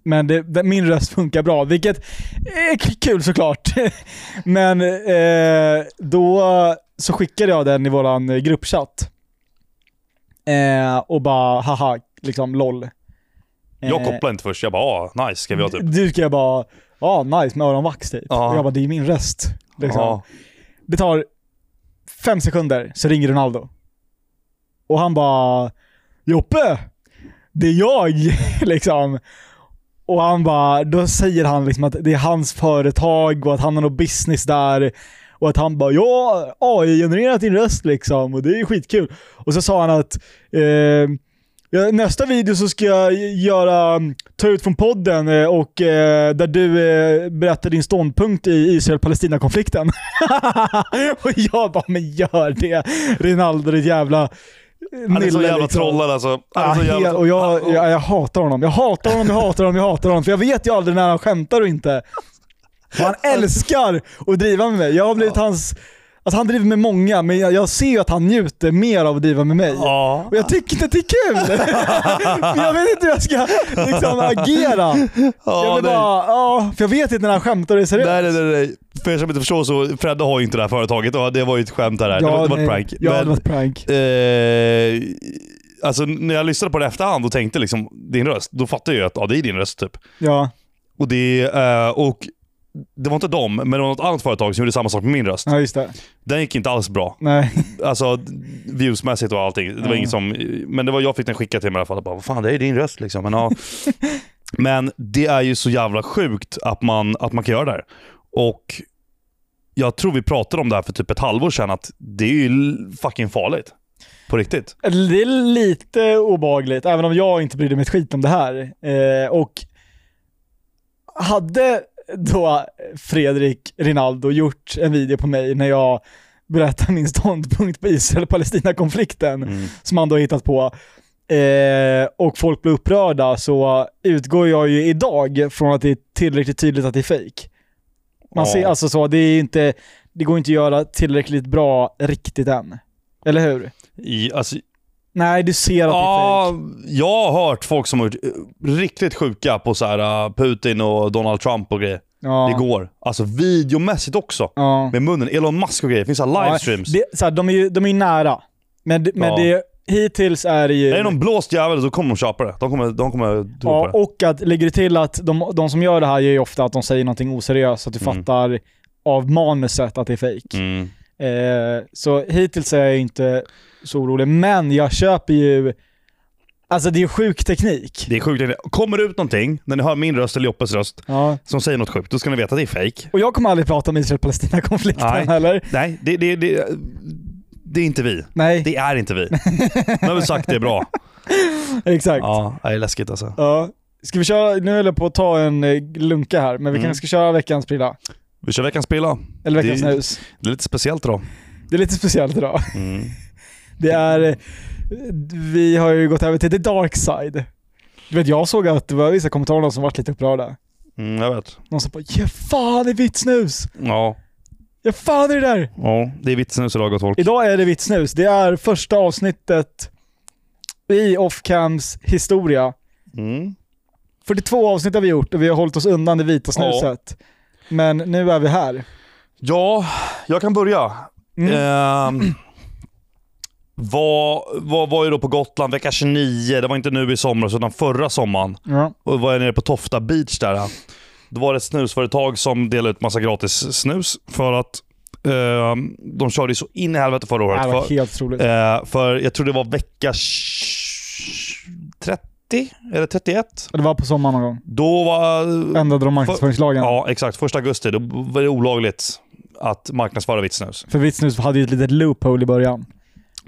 A: Men det, det, min röst funkar bra, vilket är k- kul såklart. Men eh, då så skickade jag den i våran gruppchatt. Eh, och bara haha, liksom LOL.
B: Jag
A: Eh,
B: kopplade inte först, jag bara ah, nice ska vi ha typ.
A: Du ska jag bara, ja nice med öronvax typ.
B: Ja.
A: Och jag bara, det är min röst. Liksom.
B: Ja.
A: Det tar fem sekunder så ringer Ronaldo. Och han bara Joppe! Det är jag! liksom. Och han bara, då säger han liksom att det är hans företag och att han har något business där. Och att han bara ja, AI-genererat din röst liksom och det är skitkul. Och så sa han att eh, ja, nästa video så ska jag göra, ta ut från podden eh, och eh, där du eh, berättar din ståndpunkt i Israel-Palestina-konflikten. och jag bara, men gör det Rinaldo ditt jävla
B: Han är så
A: nille,
B: jävla
A: liksom.
B: trollad alltså. Han
A: Ja,
B: är så jävla...
A: helt, och jag, jag, jag hatar honom. Jag hatar honom, jag hatar honom, jag hatar honom. För jag vet ju aldrig när han skämtar och inte. Och han älskar att driva med mig. Jag har blivit hans... Alltså han driver med många, men jag, jag ser ju att han njuter mer av att driva med mig.
B: Ja.
A: Och jag tycker inte att det är kul! För jag vet inte hur jag ska liksom, agera. Jag
B: Ja,
A: blir
B: nej.
A: bara, ja, för jag vet inte när han skämtar och är seriös.
B: Nej, nej, nej, nej. För er som inte förstår så, Fredde har ju inte det här företaget och det var ju ett skämt här. det var inte bara ett
A: nej.
B: prank.
A: Ja, det
B: Men-
A: var ett prank.
B: Eh, alltså när jag lyssnade på det efterhand och tänkte liksom din röst, då fattade jag ju att ja, det är din röst typ.
A: Ja.
B: Och det, eh, och det var inte dem, men det var något annat företag som gjorde samma sak med min röst.
A: ja, just det.
B: Den gick inte alls bra.
A: Nej.
B: Alltså viewsmässigt och allting. Det var
A: Ja.
B: inget som, men det var, jag fick den skickad till mig i alla fall. Jag Bara, Vad fan, det är din röst liksom. Men, ja. men det är ju så jävla sjukt att man, att man kan göra det här. Och jag tror vi pratade om det här för typ ett halvår sedan, att det är ju l- fucking farligt. På riktigt.
A: Det är lite obagligt, även om jag inte brydde mig ett skit om det här. Eh, och hade då Fredrik Rinaldo gjort en video på mig när jag berättar min ståndpunkt på Israel-Palestina-konflikten,
B: Mm.
A: som han då har hittat på, eh, och folk blir upprörda, så utgår jag ju idag från att det är tillräckligt tydligt att det är fejk. Man
B: Ja.
A: ser alltså så, det, är inte, det går inte att göra tillräckligt bra riktigt än. Eller hur?
B: I, alltså,
A: Nej, du ser att det är
B: Ja,
A: fejk.
B: jag har hört folk som har varit eh, riktigt sjuka på så här, eh, Putin och Donald Trump och grejer.
A: Ja.
B: Det går. Alltså videomässigt också.
A: Ja.
B: Med munnen. Elon Musk och grejer. Det finns så här livestreams.
A: Ja, det, så här, de är ju de är ju nära. Men, men
B: Ja.
A: det, hittills är det ju...
B: Är det någon blåst jävel så kommer de köpa det. De kommer, de kommer tro
A: ja,
B: på det.
A: och att, lägger du till att de, de som gör det här gör ju ofta att de säger någonting oseriöst, så att du
B: Mm.
A: fattar av manuset att det är fejk.
B: Mm.
A: Eh, så hittills är jag inte så orolig, men jag köper ju... Alltså det är sjuk teknik.
B: Det är sjukt. Kommer det ut någonting, när ni hör min röst eller Joppes röst,
A: Ja.
B: som säger något sjukt, då ska ni veta att det är fake.
A: Och jag kommer aldrig prata om Israel-Palestina-konflikten
B: Nej.
A: heller.
B: Nej, det, det, det, det är inte vi.
A: Nej,
B: Det är inte vi. Nu har vi sagt det bra.
A: exakt. Ja.
B: Ja, det är läskigt alltså.
A: Ska vi köra, nu höll jag på att ta en eh, lunka här, men vi
B: Mm.
A: kanske ska köra veckans prilla.
B: Vi kör veckans pilla.
A: Eller veckans
B: Det-
A: snus.
B: Det är lite speciellt idag.
A: Det är lite speciellt idag.
B: Mm.
A: Det är, eh, vi har ju gått över till the dark side. Du vet, jag såg att det var vissa kommentarer som varit lite upprörda.
B: Mm, jag vet.
A: Någon som bara “Ge fan i vitt snus!
B: Ja,
A: Ge fan i det där!”
B: ja det är vitsen idag gott folk.
A: Idag är det vitt snus. Det är första avsnittet i Offcams historia.
B: Mm.
A: 42 avsnitt har vi gjort och vi har hållit oss undan det vita snuset. Men nu är vi här.
B: Ja, jag kan börja.
A: Mm.
B: Ehm, var, var, var ju då på Gotland vecka 29. Det var inte nu i somras utan förra sommaren.
A: Ja.
B: Och var jag nere på Tofta Beach där. Då var det ett snusföretag som delade ut massa gratis snus för att ehm, de körde ju så in i helvete förra
A: Det
B: året.
A: här var
B: För,
A: helt otroligt.
B: eh, för jag tror det var vecka sh- 30 eller 31.
A: Det var på sommaren någon gång.
B: Då var
A: Ändrade de marknadsföringslagen.
B: Ja, exakt. Första augusti då var det olagligt att marknadsföra vitt snus.
A: För vitt snus hade ju ett litet loophole i början.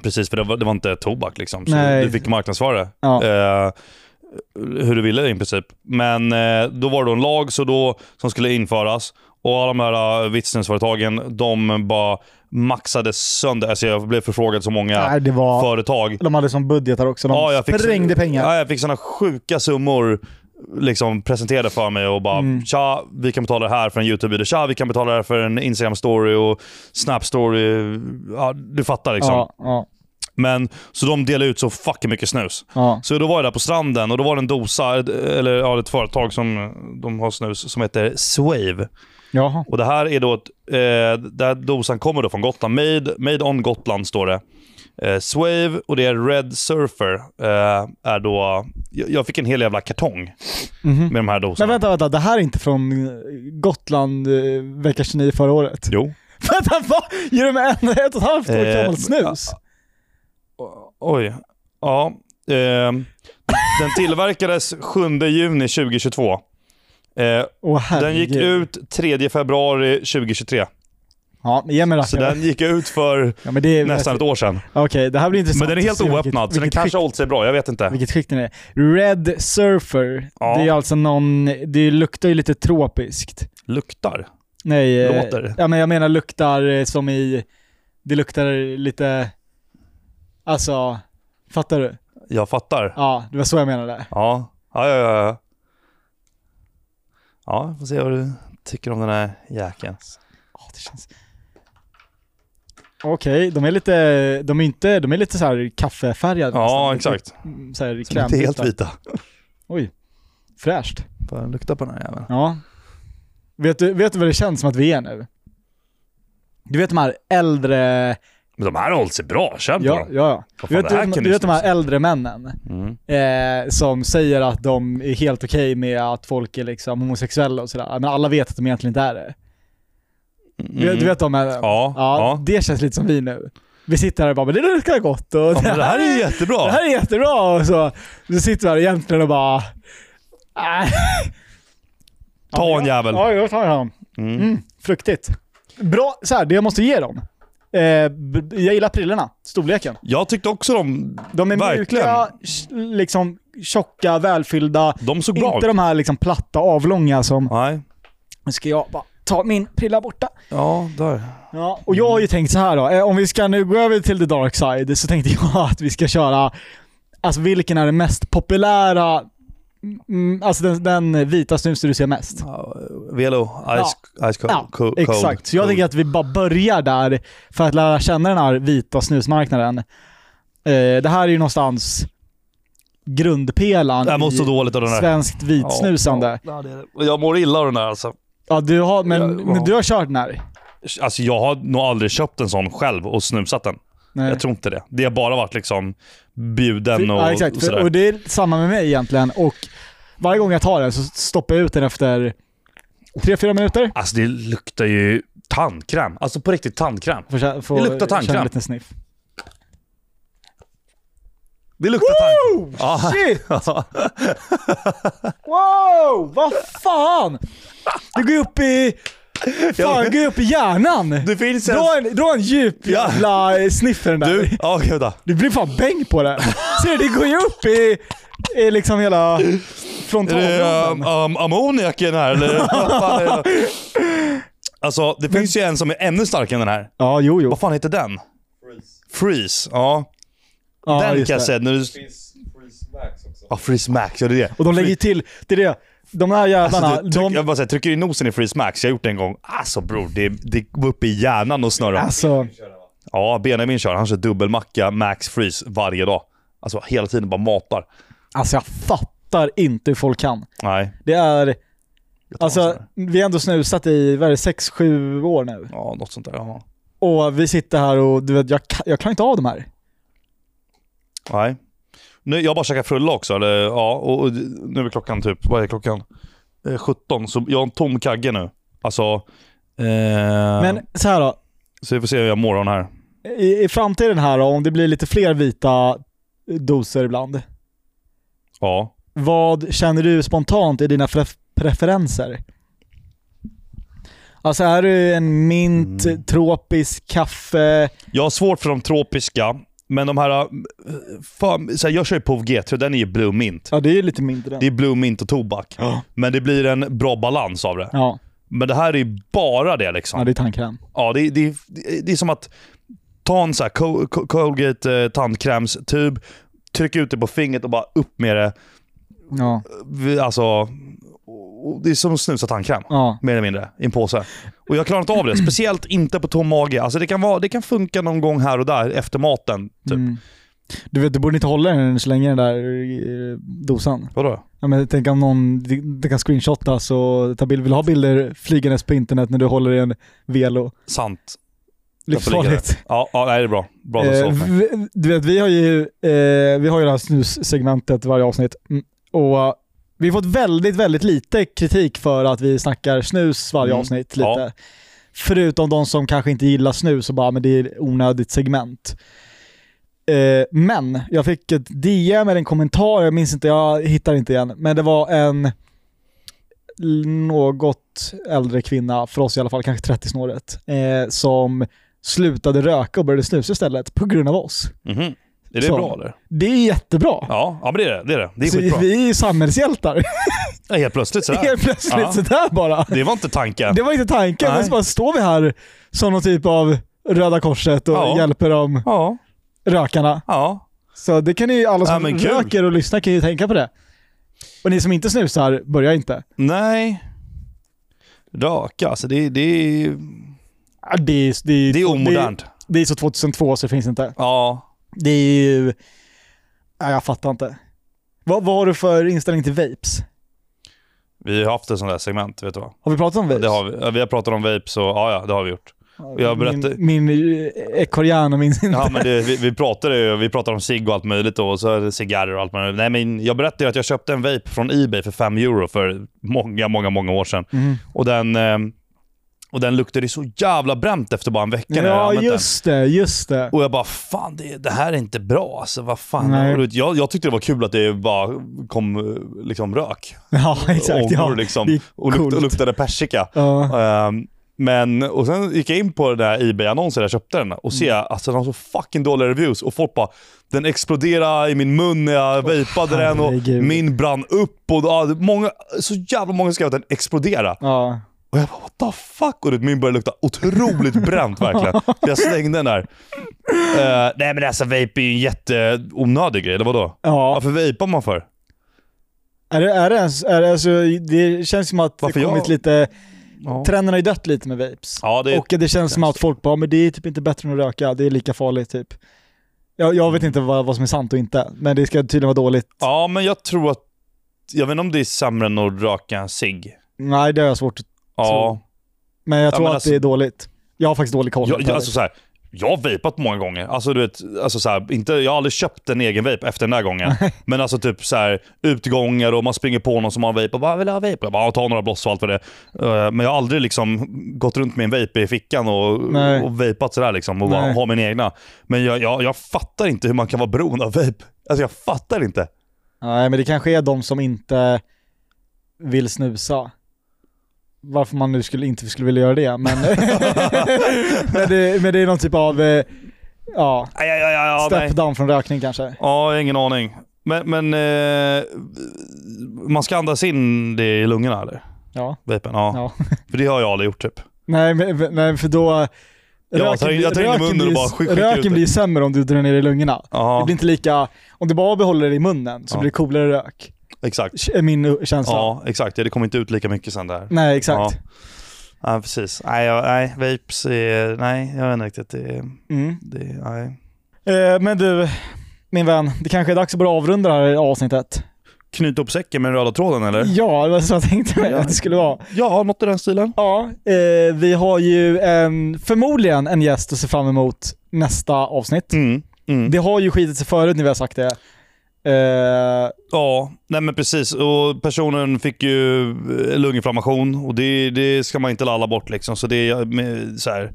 B: Precis, för det var, det var inte tobak liksom. Så
A: Nej.
B: du fick marknadsföra det.
A: Ja.
B: Eh, hur du ville i princip. Men eh, då var det då en lag så då, som skulle införas. Och alla de här eh, vitt snusföretagen, de bara maxade sönder. Alltså jag blev förfrågad så många
A: Nej, det var...
B: företag.
A: De hade som budgetar också. De
B: Ja, jag fick,
A: sprängde pengar.
B: Ja, jag fick sådana sjuka summor liksom presenterade för mig och bara
A: Mm.
B: “Tja, vi kan betala det här för en YouTube-video. Tja, vi kan betala det här för en Instagram-story och Snap-story.” ja, Du fattar liksom.
A: Ja, ja,
B: Men, så de delar ut så fucking mycket snus.
A: ja.
B: Så då var jag där på stranden och då var det en dosa, ett- eller ja, ett företag som de har snus som heter Swave.
A: Jaha.
B: Och det här är då ett, eh, där dosan kommer då från Gotland. Made, made on Gotland står det. Eh, Swave och det är Red Surfer. Eh, är då, jag, jag fick en hel jävla kartong
A: Mhm.
B: med de här
A: Men
B: dosorna.
A: vänta, vänta. Det här är inte från eh, Gotland eh, vecka 29 förra året.
B: Jo.
A: Vänta, vad? Ger de med en ett och ett halvt år
B: Eh,
A: gammalt snus?
B: Oj. Ja. ehm, den tillverkades 7 juni 2022. Eh,
A: Åh herregud.
B: den gick ut 3 februari 2023.
A: Ja, men ge mig
B: Så
A: rackaren.
B: den gick ut för
A: Ja, men det är
B: nästan ett år sedan.
A: Okej, det här blir intressant.
B: Men den är helt
A: att se vilket-
B: oöppnad, så den
A: vilket
B: kanske har
A: skick,
B: hållit sig bra. Jag vet inte.
A: Vilket skick den är. Red Surfer.
B: Ja.
A: Det är alltså någon, det luktar ju lite tropiskt.
B: Luktar.
A: Nej, eh,
B: Låter.
A: Ja, men jag menar luktar eh, som i, det luktar lite, alltså, fattar du?
B: Jag fattar.
A: Ja, det var så jag menade.
B: Ja, ja, ja. Ja, ja. ja vi får se vad du tycker om den här jäkeln.
A: Ja, det känns... Okej, de är lite, de är inte, de är lite så här kaffefärgade
B: Ja,
A: nästan.
B: exakt.
A: Mm, Så här
B: Som inte är helt
A: krämvita.
B: vita.
A: Oj, fräscht.
B: Bara lukta på den här jäveln.
A: Ja. Vet du, vet du vad det känns som att vi är nu? Du vet de här äldre...
B: Men de här har hållit sig bra. Känn på
A: Ja, ja,
B: dem.
A: ja.
B: Vad
A: Du
B: fan,
A: vet,
B: det här
A: du,
B: kan
A: du
B: du liksom-
A: vet de här äldre männen
B: Mm.
A: eh, som säger att de är helt okej med att folk är liksom homosexuella och sådär. Men alla vet att de egentligen inte är det. Du, vet-
B: Mm.
A: du vet de männen?
B: Ja, ja.
A: Det känns lite som vi nu. Vi sitter här och bara “men det luktar gott” och
B: Ja, men det här är ju jättebra.
A: det här är jättebra” och så. Du sitter vi här egentligen och bara... "Nej."
B: Ta en jävel.
A: Ja, jag tar han.
B: Mm.
A: Mm, fruktigt. Bra, så här, det jag måste ge dem. Eh, b- b- jag gillar prillorna, storleken.
B: Jag tyckte också de...
A: De är
B: Verkligen.
A: mjuka, sh- liksom tjocka, välfyllda.
B: De såg bra ut.
A: Inte de här liksom platta, avlånga som...
B: Nej.
A: Nu ska jag bara ta min prilla borta.
B: Ja, där.
A: Ja, och jag har ju tänkt så här då. Eh, om vi ska nu gå över till the dark side så tänkte jag att vi ska köra, alltså vilken är den mest populära, mm, alltså den, den vita snusen du ser mest?
B: Ja, Velo. Ice, ice cold,
A: Ja,
B: cold.
A: Exakt, så jag
B: cold.
A: tänker att vi bara börjar där för att lära känna den här vita snusmarknaden. Eh, det här är ju någonstans grundpelaren
B: Det här mår så dåligt av den där.
A: svenskt vitsnusande. Ja,
B: Ja, det är det. Jag mår illa av den där alltså.
A: du har, men,
B: Ja, ja.
A: men du har kört den här?
B: Alltså jag har nog aldrig köpt en sån själv och snusat den.
A: Nej.
B: Jag tror inte det. Det har bara varit liksom bjuden och,
A: ja, exakt.
B: och
A: För,
B: sådär.
A: och det är samma med mig egentligen. Och varje gång jag tar den så stoppar jag ut den efter 3-4 minuter.
B: Alltså det luktar ju tandkräm. Alltså på riktigt tandkräm.
A: Får, kä- får
B: Det luktar tandkräm.
A: känna en liten sniff.
B: Det luktar tandkräm. Ja.
A: Shit! Wow! Vad fan! Det går ju upp i... Fan, det går ju upp i hjärnan!
B: Det finns en...
A: Dra en, dra en djup
B: Ja.
A: jävla eh, sniff för den där.
B: Du, ja gud då.
A: Det blir fan bäng på det. här. Ser du, det går ju upp i, i liksom hela
B: Är det um,
A: frontalloben.
B: um, ammoniaken här eller? Vad fan är det? alltså det finns ju en som är ännu starkare än den här.
A: Ja, jo, jo.
B: Vad fan heter den? Freeze. Freeze, ja.
A: Ja,
B: den
A: just
B: kan jag
A: det.
B: säga. När du... Ja, Freeze Max, ja det är det.
A: Och de lägger ju till, det är det. De här jävlarna,
B: Alltså, du, tryck,
A: de...
B: jag bara säger, trycker du i nosen i Freeze Max, jag har gjort det en gång. Alltså bror, det, det går upp i hjärnan och snurrar.
A: Alltså,
B: Ja, Benjamin kör. Han kör dubbelmacka, Max Freeze varje dag. Alltså hela tiden bara matar.
A: alltså jag fattar inte hur folk kan.
B: Nej.
A: Det är,
B: jag tar en
A: alltså
B: sån här.
A: vi har ändå snusat i, vad är det, 6-7 år nu.
B: Ja, något sånt där. Ja.
A: Och vi sitter här och du vet, jag, kan- jag klarar inte av de här.
B: Nej. Nu, jag har bara käkat frulla också. Eller, ja, och, och nu är klockan typ, vad är klockan? Eh, 17, så jag har en tom kagge nu. Alltså... Eh,
A: Men så här då,
B: Så vi får se hur jag mår av den här.
A: i, i framtiden här då, om det blir lite fler vita doser ibland.
B: Ja.
A: Vad känner du spontant är dina pref- preferenser? Alltså är du en mint, tropisk, kaffe?
B: Jag har svårt för de tropiska, men de här... eh, Fan, så här jag kör ju POV G3, den är ju Blue Mint.
A: Ja det är ju lite mindre.
B: Det är Blue Mint och tobak.
A: Ja.
B: Men det blir en bra balans av det.
A: Ja,
B: Men det här är ju bara det liksom.
A: ja, det är tandkräm.
B: Ja, det, det, det, det är som att ta en så här Col- Col- Colgate eh, tandkrämstub, trycka ut det på fingret och bara upp med det.
A: Ja.
B: Vi- Alltså, och det är som att snusa tandkräm.
A: Ja.
B: Mer eller mindre, i en påse. Och jag klarar inte av det. Speciellt inte på tom mage. Alltså det kan, vara, det kan funka någon gång här och där efter maten. Typ.
A: Mm. Du vet, du borde inte hålla den så länge den där eh, dosan.
B: Vadå?
A: Ja, men tänk om någon, det, det kan screenshotas och ta bild, vill ha bilder flygandes på internet när du håller i en velo.
B: Sant. Därför ligger det.
A: Livsfarligt.
B: Ja, ja, nej, det är bra. Bra att du sa
A: Eh,
B: åt mig.
A: vi- du vet, vi har ju, eh, vi har ju det här snussegmentet varje avsnitt. Mm. Och eh, vi har fått väldigt, väldigt lite kritik för att vi snackar snus varje
B: Mm.
A: avsnitt lite.
B: Ja.
A: Förutom de som kanske inte gillar snus och bara, "Ah, men det är onödigt segment. Eh, men jag fick ett DM eller en kommentar, jag minns inte, jag hittar inte igen. Men det var en l- något äldre kvinna, för oss i alla fall, kanske 30-snåret, eh, som slutade röka och började snusa istället på grund av oss.
B: Mhm. Är det
A: Så.
B: bra eller?
A: Det är jättebra.
B: Ja, ja men det är det. Det är, det. Det är
A: Så
B: skitbra.
A: vi är ju samhällshjältar.
B: Ja, helt plötsligt sådär.
A: Helt plötsligt
B: Ja.
A: sådär bara.
B: Det var inte tanken.
A: Det var inte tanken,
B: Nej.
A: men så bara står vi här som någon typ av Röda Korset och
B: Ja.
A: hjälper de
B: Ja,
A: rökarna.
B: ja.
A: Så det kan ni alla
B: Ja,
A: som
B: men kul.
A: röker och lyssnar kan ju tänka på det. Och ni som inte snusar, börja inte.
B: Nej. Röka, alltså det, det, är-
A: Ja, Det är, det, är,
B: det är omodernt.
A: Det, är så 2002 så det finns inte.
B: Ja.
A: Det är ju... Nej, jag fattar inte. Vad, vad har du för inställning till vapes?
B: Vi har haft ett sånt där segment, vet du vad?
A: Har vi pratat om vapes?
B: Det har vi. Ja, vi har pratat om vapes och ja, ja, det har vi gjort. jag berättar-
A: Min, min ekorrhjärna minns inte.
B: Ja, men det, vi, vi pratade ju, vi pratade om cigg och allt möjligt och så är det cigarrer och allt möjligt. Nej, men jag berättade ju att jag köpte en vape från Ebay för 5 euro för många, många, många år sedan.
A: Mm.
B: Och den, eh, och den luktade så jävla bränt efter bara en vecka när jag hade
A: Ja,
B: använt den.
A: just det, just det.
B: Och jag bara, fan det, det här är inte bra alltså, vad fan.
A: Nej.
B: Och du vet, Jag, jag tyckte det var kul att det bara kom eh, liksom rök.
A: Ja, exakt. Ja.
B: Ångor liksom.
A: det är
B: och, lukt, och
A: coolt.
B: luktade persika.
A: Ja.
B: Ehm, men, och sen gick jag in på den där Ebay-annonsen där jag köpte den och
A: Mm.
B: ser alltså den har så fucking dåliga reviews och folk bara “Den exploderade i min mun när jag vejpade den och
A: herregud.
B: min brann upp” och ja, många, så jävla många skrev att den exploderade.
A: Ja.
B: Och jag bara “What the fuck?” och du vet, min började lukta otroligt bränt verkligen. Så jag slängde den där. Eh, nej men alltså vape är ju en jätteonödig grej, eller vadå?
A: ja.
B: Varför vejpar man för?
A: Är det, är det, ens, är det, alltså, det känns som att
B: Varför
A: det
B: jag-
A: kommit lite...
B: Ja.
A: Trenden har ju dött lite med vapes.
B: Ja, det,
A: och det känns som att folk bara, men det är typ inte bättre än att röka, det är lika farligt typ. Jag, jag vet inte vad, vad som är sant och inte, men det ska tydligen vara dåligt.
B: Ja, men jag tror att... Jag vet inte om det är sämre än att röka sig.
A: Nej, det har jag svårt att-
B: Ja.
A: Så- Men jag
B: Ja,
A: tror
B: men
A: att
B: alltså-
A: det är dåligt. Jag har faktiskt dålig koll.
B: Jag, jag, alltså, så här, jag har vejpat många gånger. Alltså, du vet, alltså, så här, inte, jag har aldrig köpt en egen vape efter den där gången. Men alltså typ så här, utgångar och man springer på någon som har en vape och bara “vill du ha vape?” Jag bara "Ja, “ta några bloss och allt för det”. Eh, Men jag har aldrig liksom gått runt med en vape i fickan och,
A: Nej.
B: och vejpat sådär liksom och bara,
A: Nej.
B: ha min egna. Men jag, jag, jag fattar inte hur man kan vara beroende av vape. Alltså jag fattar inte.
A: Nej, men det kanske är de som inte vill snusa. Varför man nu skulle, inte skulle vilja göra det, men, men, det, men det är någon typ av eh, ja,
B: Aj, aj, aj, aj, aj, nej.
A: step down från rökning kanske.
B: Ja, jag har ingen aning. Men, men eh, man ska andas in det i lungorna eller?
A: Ja.
B: Vapen? Ja.
A: Ja.
B: För det har jag aldrig gjort typ.
A: Nej, men, nej för då...
B: jag tar in i munnen och
A: blir ju-
B: bara skickar ut det.
A: Röken blir ju sämre om du drar ner i lungorna.
B: Ja,
A: Det blir inte lika... Om du bara behåller det i munnen så
B: Ja.
A: blir det coolare rök.
B: exakt.
A: Är min känsla. Mm.
B: Ja, exakt. Ja, Det kommer inte ut lika mycket sen där.
A: Nej, exakt.
B: Ja, precis. Nej, jag, nej, vapes är... Nej, jag vet inte riktigt. Det,
A: Mm.
B: det, nej.
A: Eh, men du, min vän. Det kanske är dags att börja avrunda det här avsnittet.
B: Knyta upp säcken med den röda tråden eller?
A: Ja, det var så jag tänkte mig att det skulle vara.
B: Ja, något i den stilen.
A: Ja, eh, vi har ju en, förmodligen en gäst att se fram emot nästa avsnitt.
B: Mm. Mm.
A: Det har ju skitit sig förut när vi har sagt det. Eh,
B: Ja, nej men precis. Och personen fick ju eh, lunginflammation och det, det ska man inte lalla bort liksom. Så det är med- så här.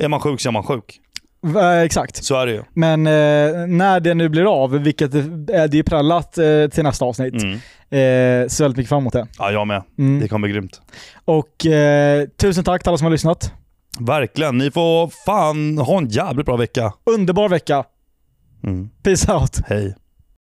B: Är man sjuk så är man sjuk.
A: va- eh, exakt.
B: Så är det ju.
A: Men eh, när det nu blir av, vilket det är, det är prallat eh, till nästa avsnitt,
B: Mm.
A: eh, ser väldigt mycket fram emot det.
B: Ja, jag med.
A: Mm.
B: Det kommer bli grymt.
A: Och eh, tusen tack till alla som har lyssnat.
B: Verkligen. Ni får fan ha en jävligt bra vecka.
A: Underbar vecka.
B: Mm.
A: Peace out.
B: Hej.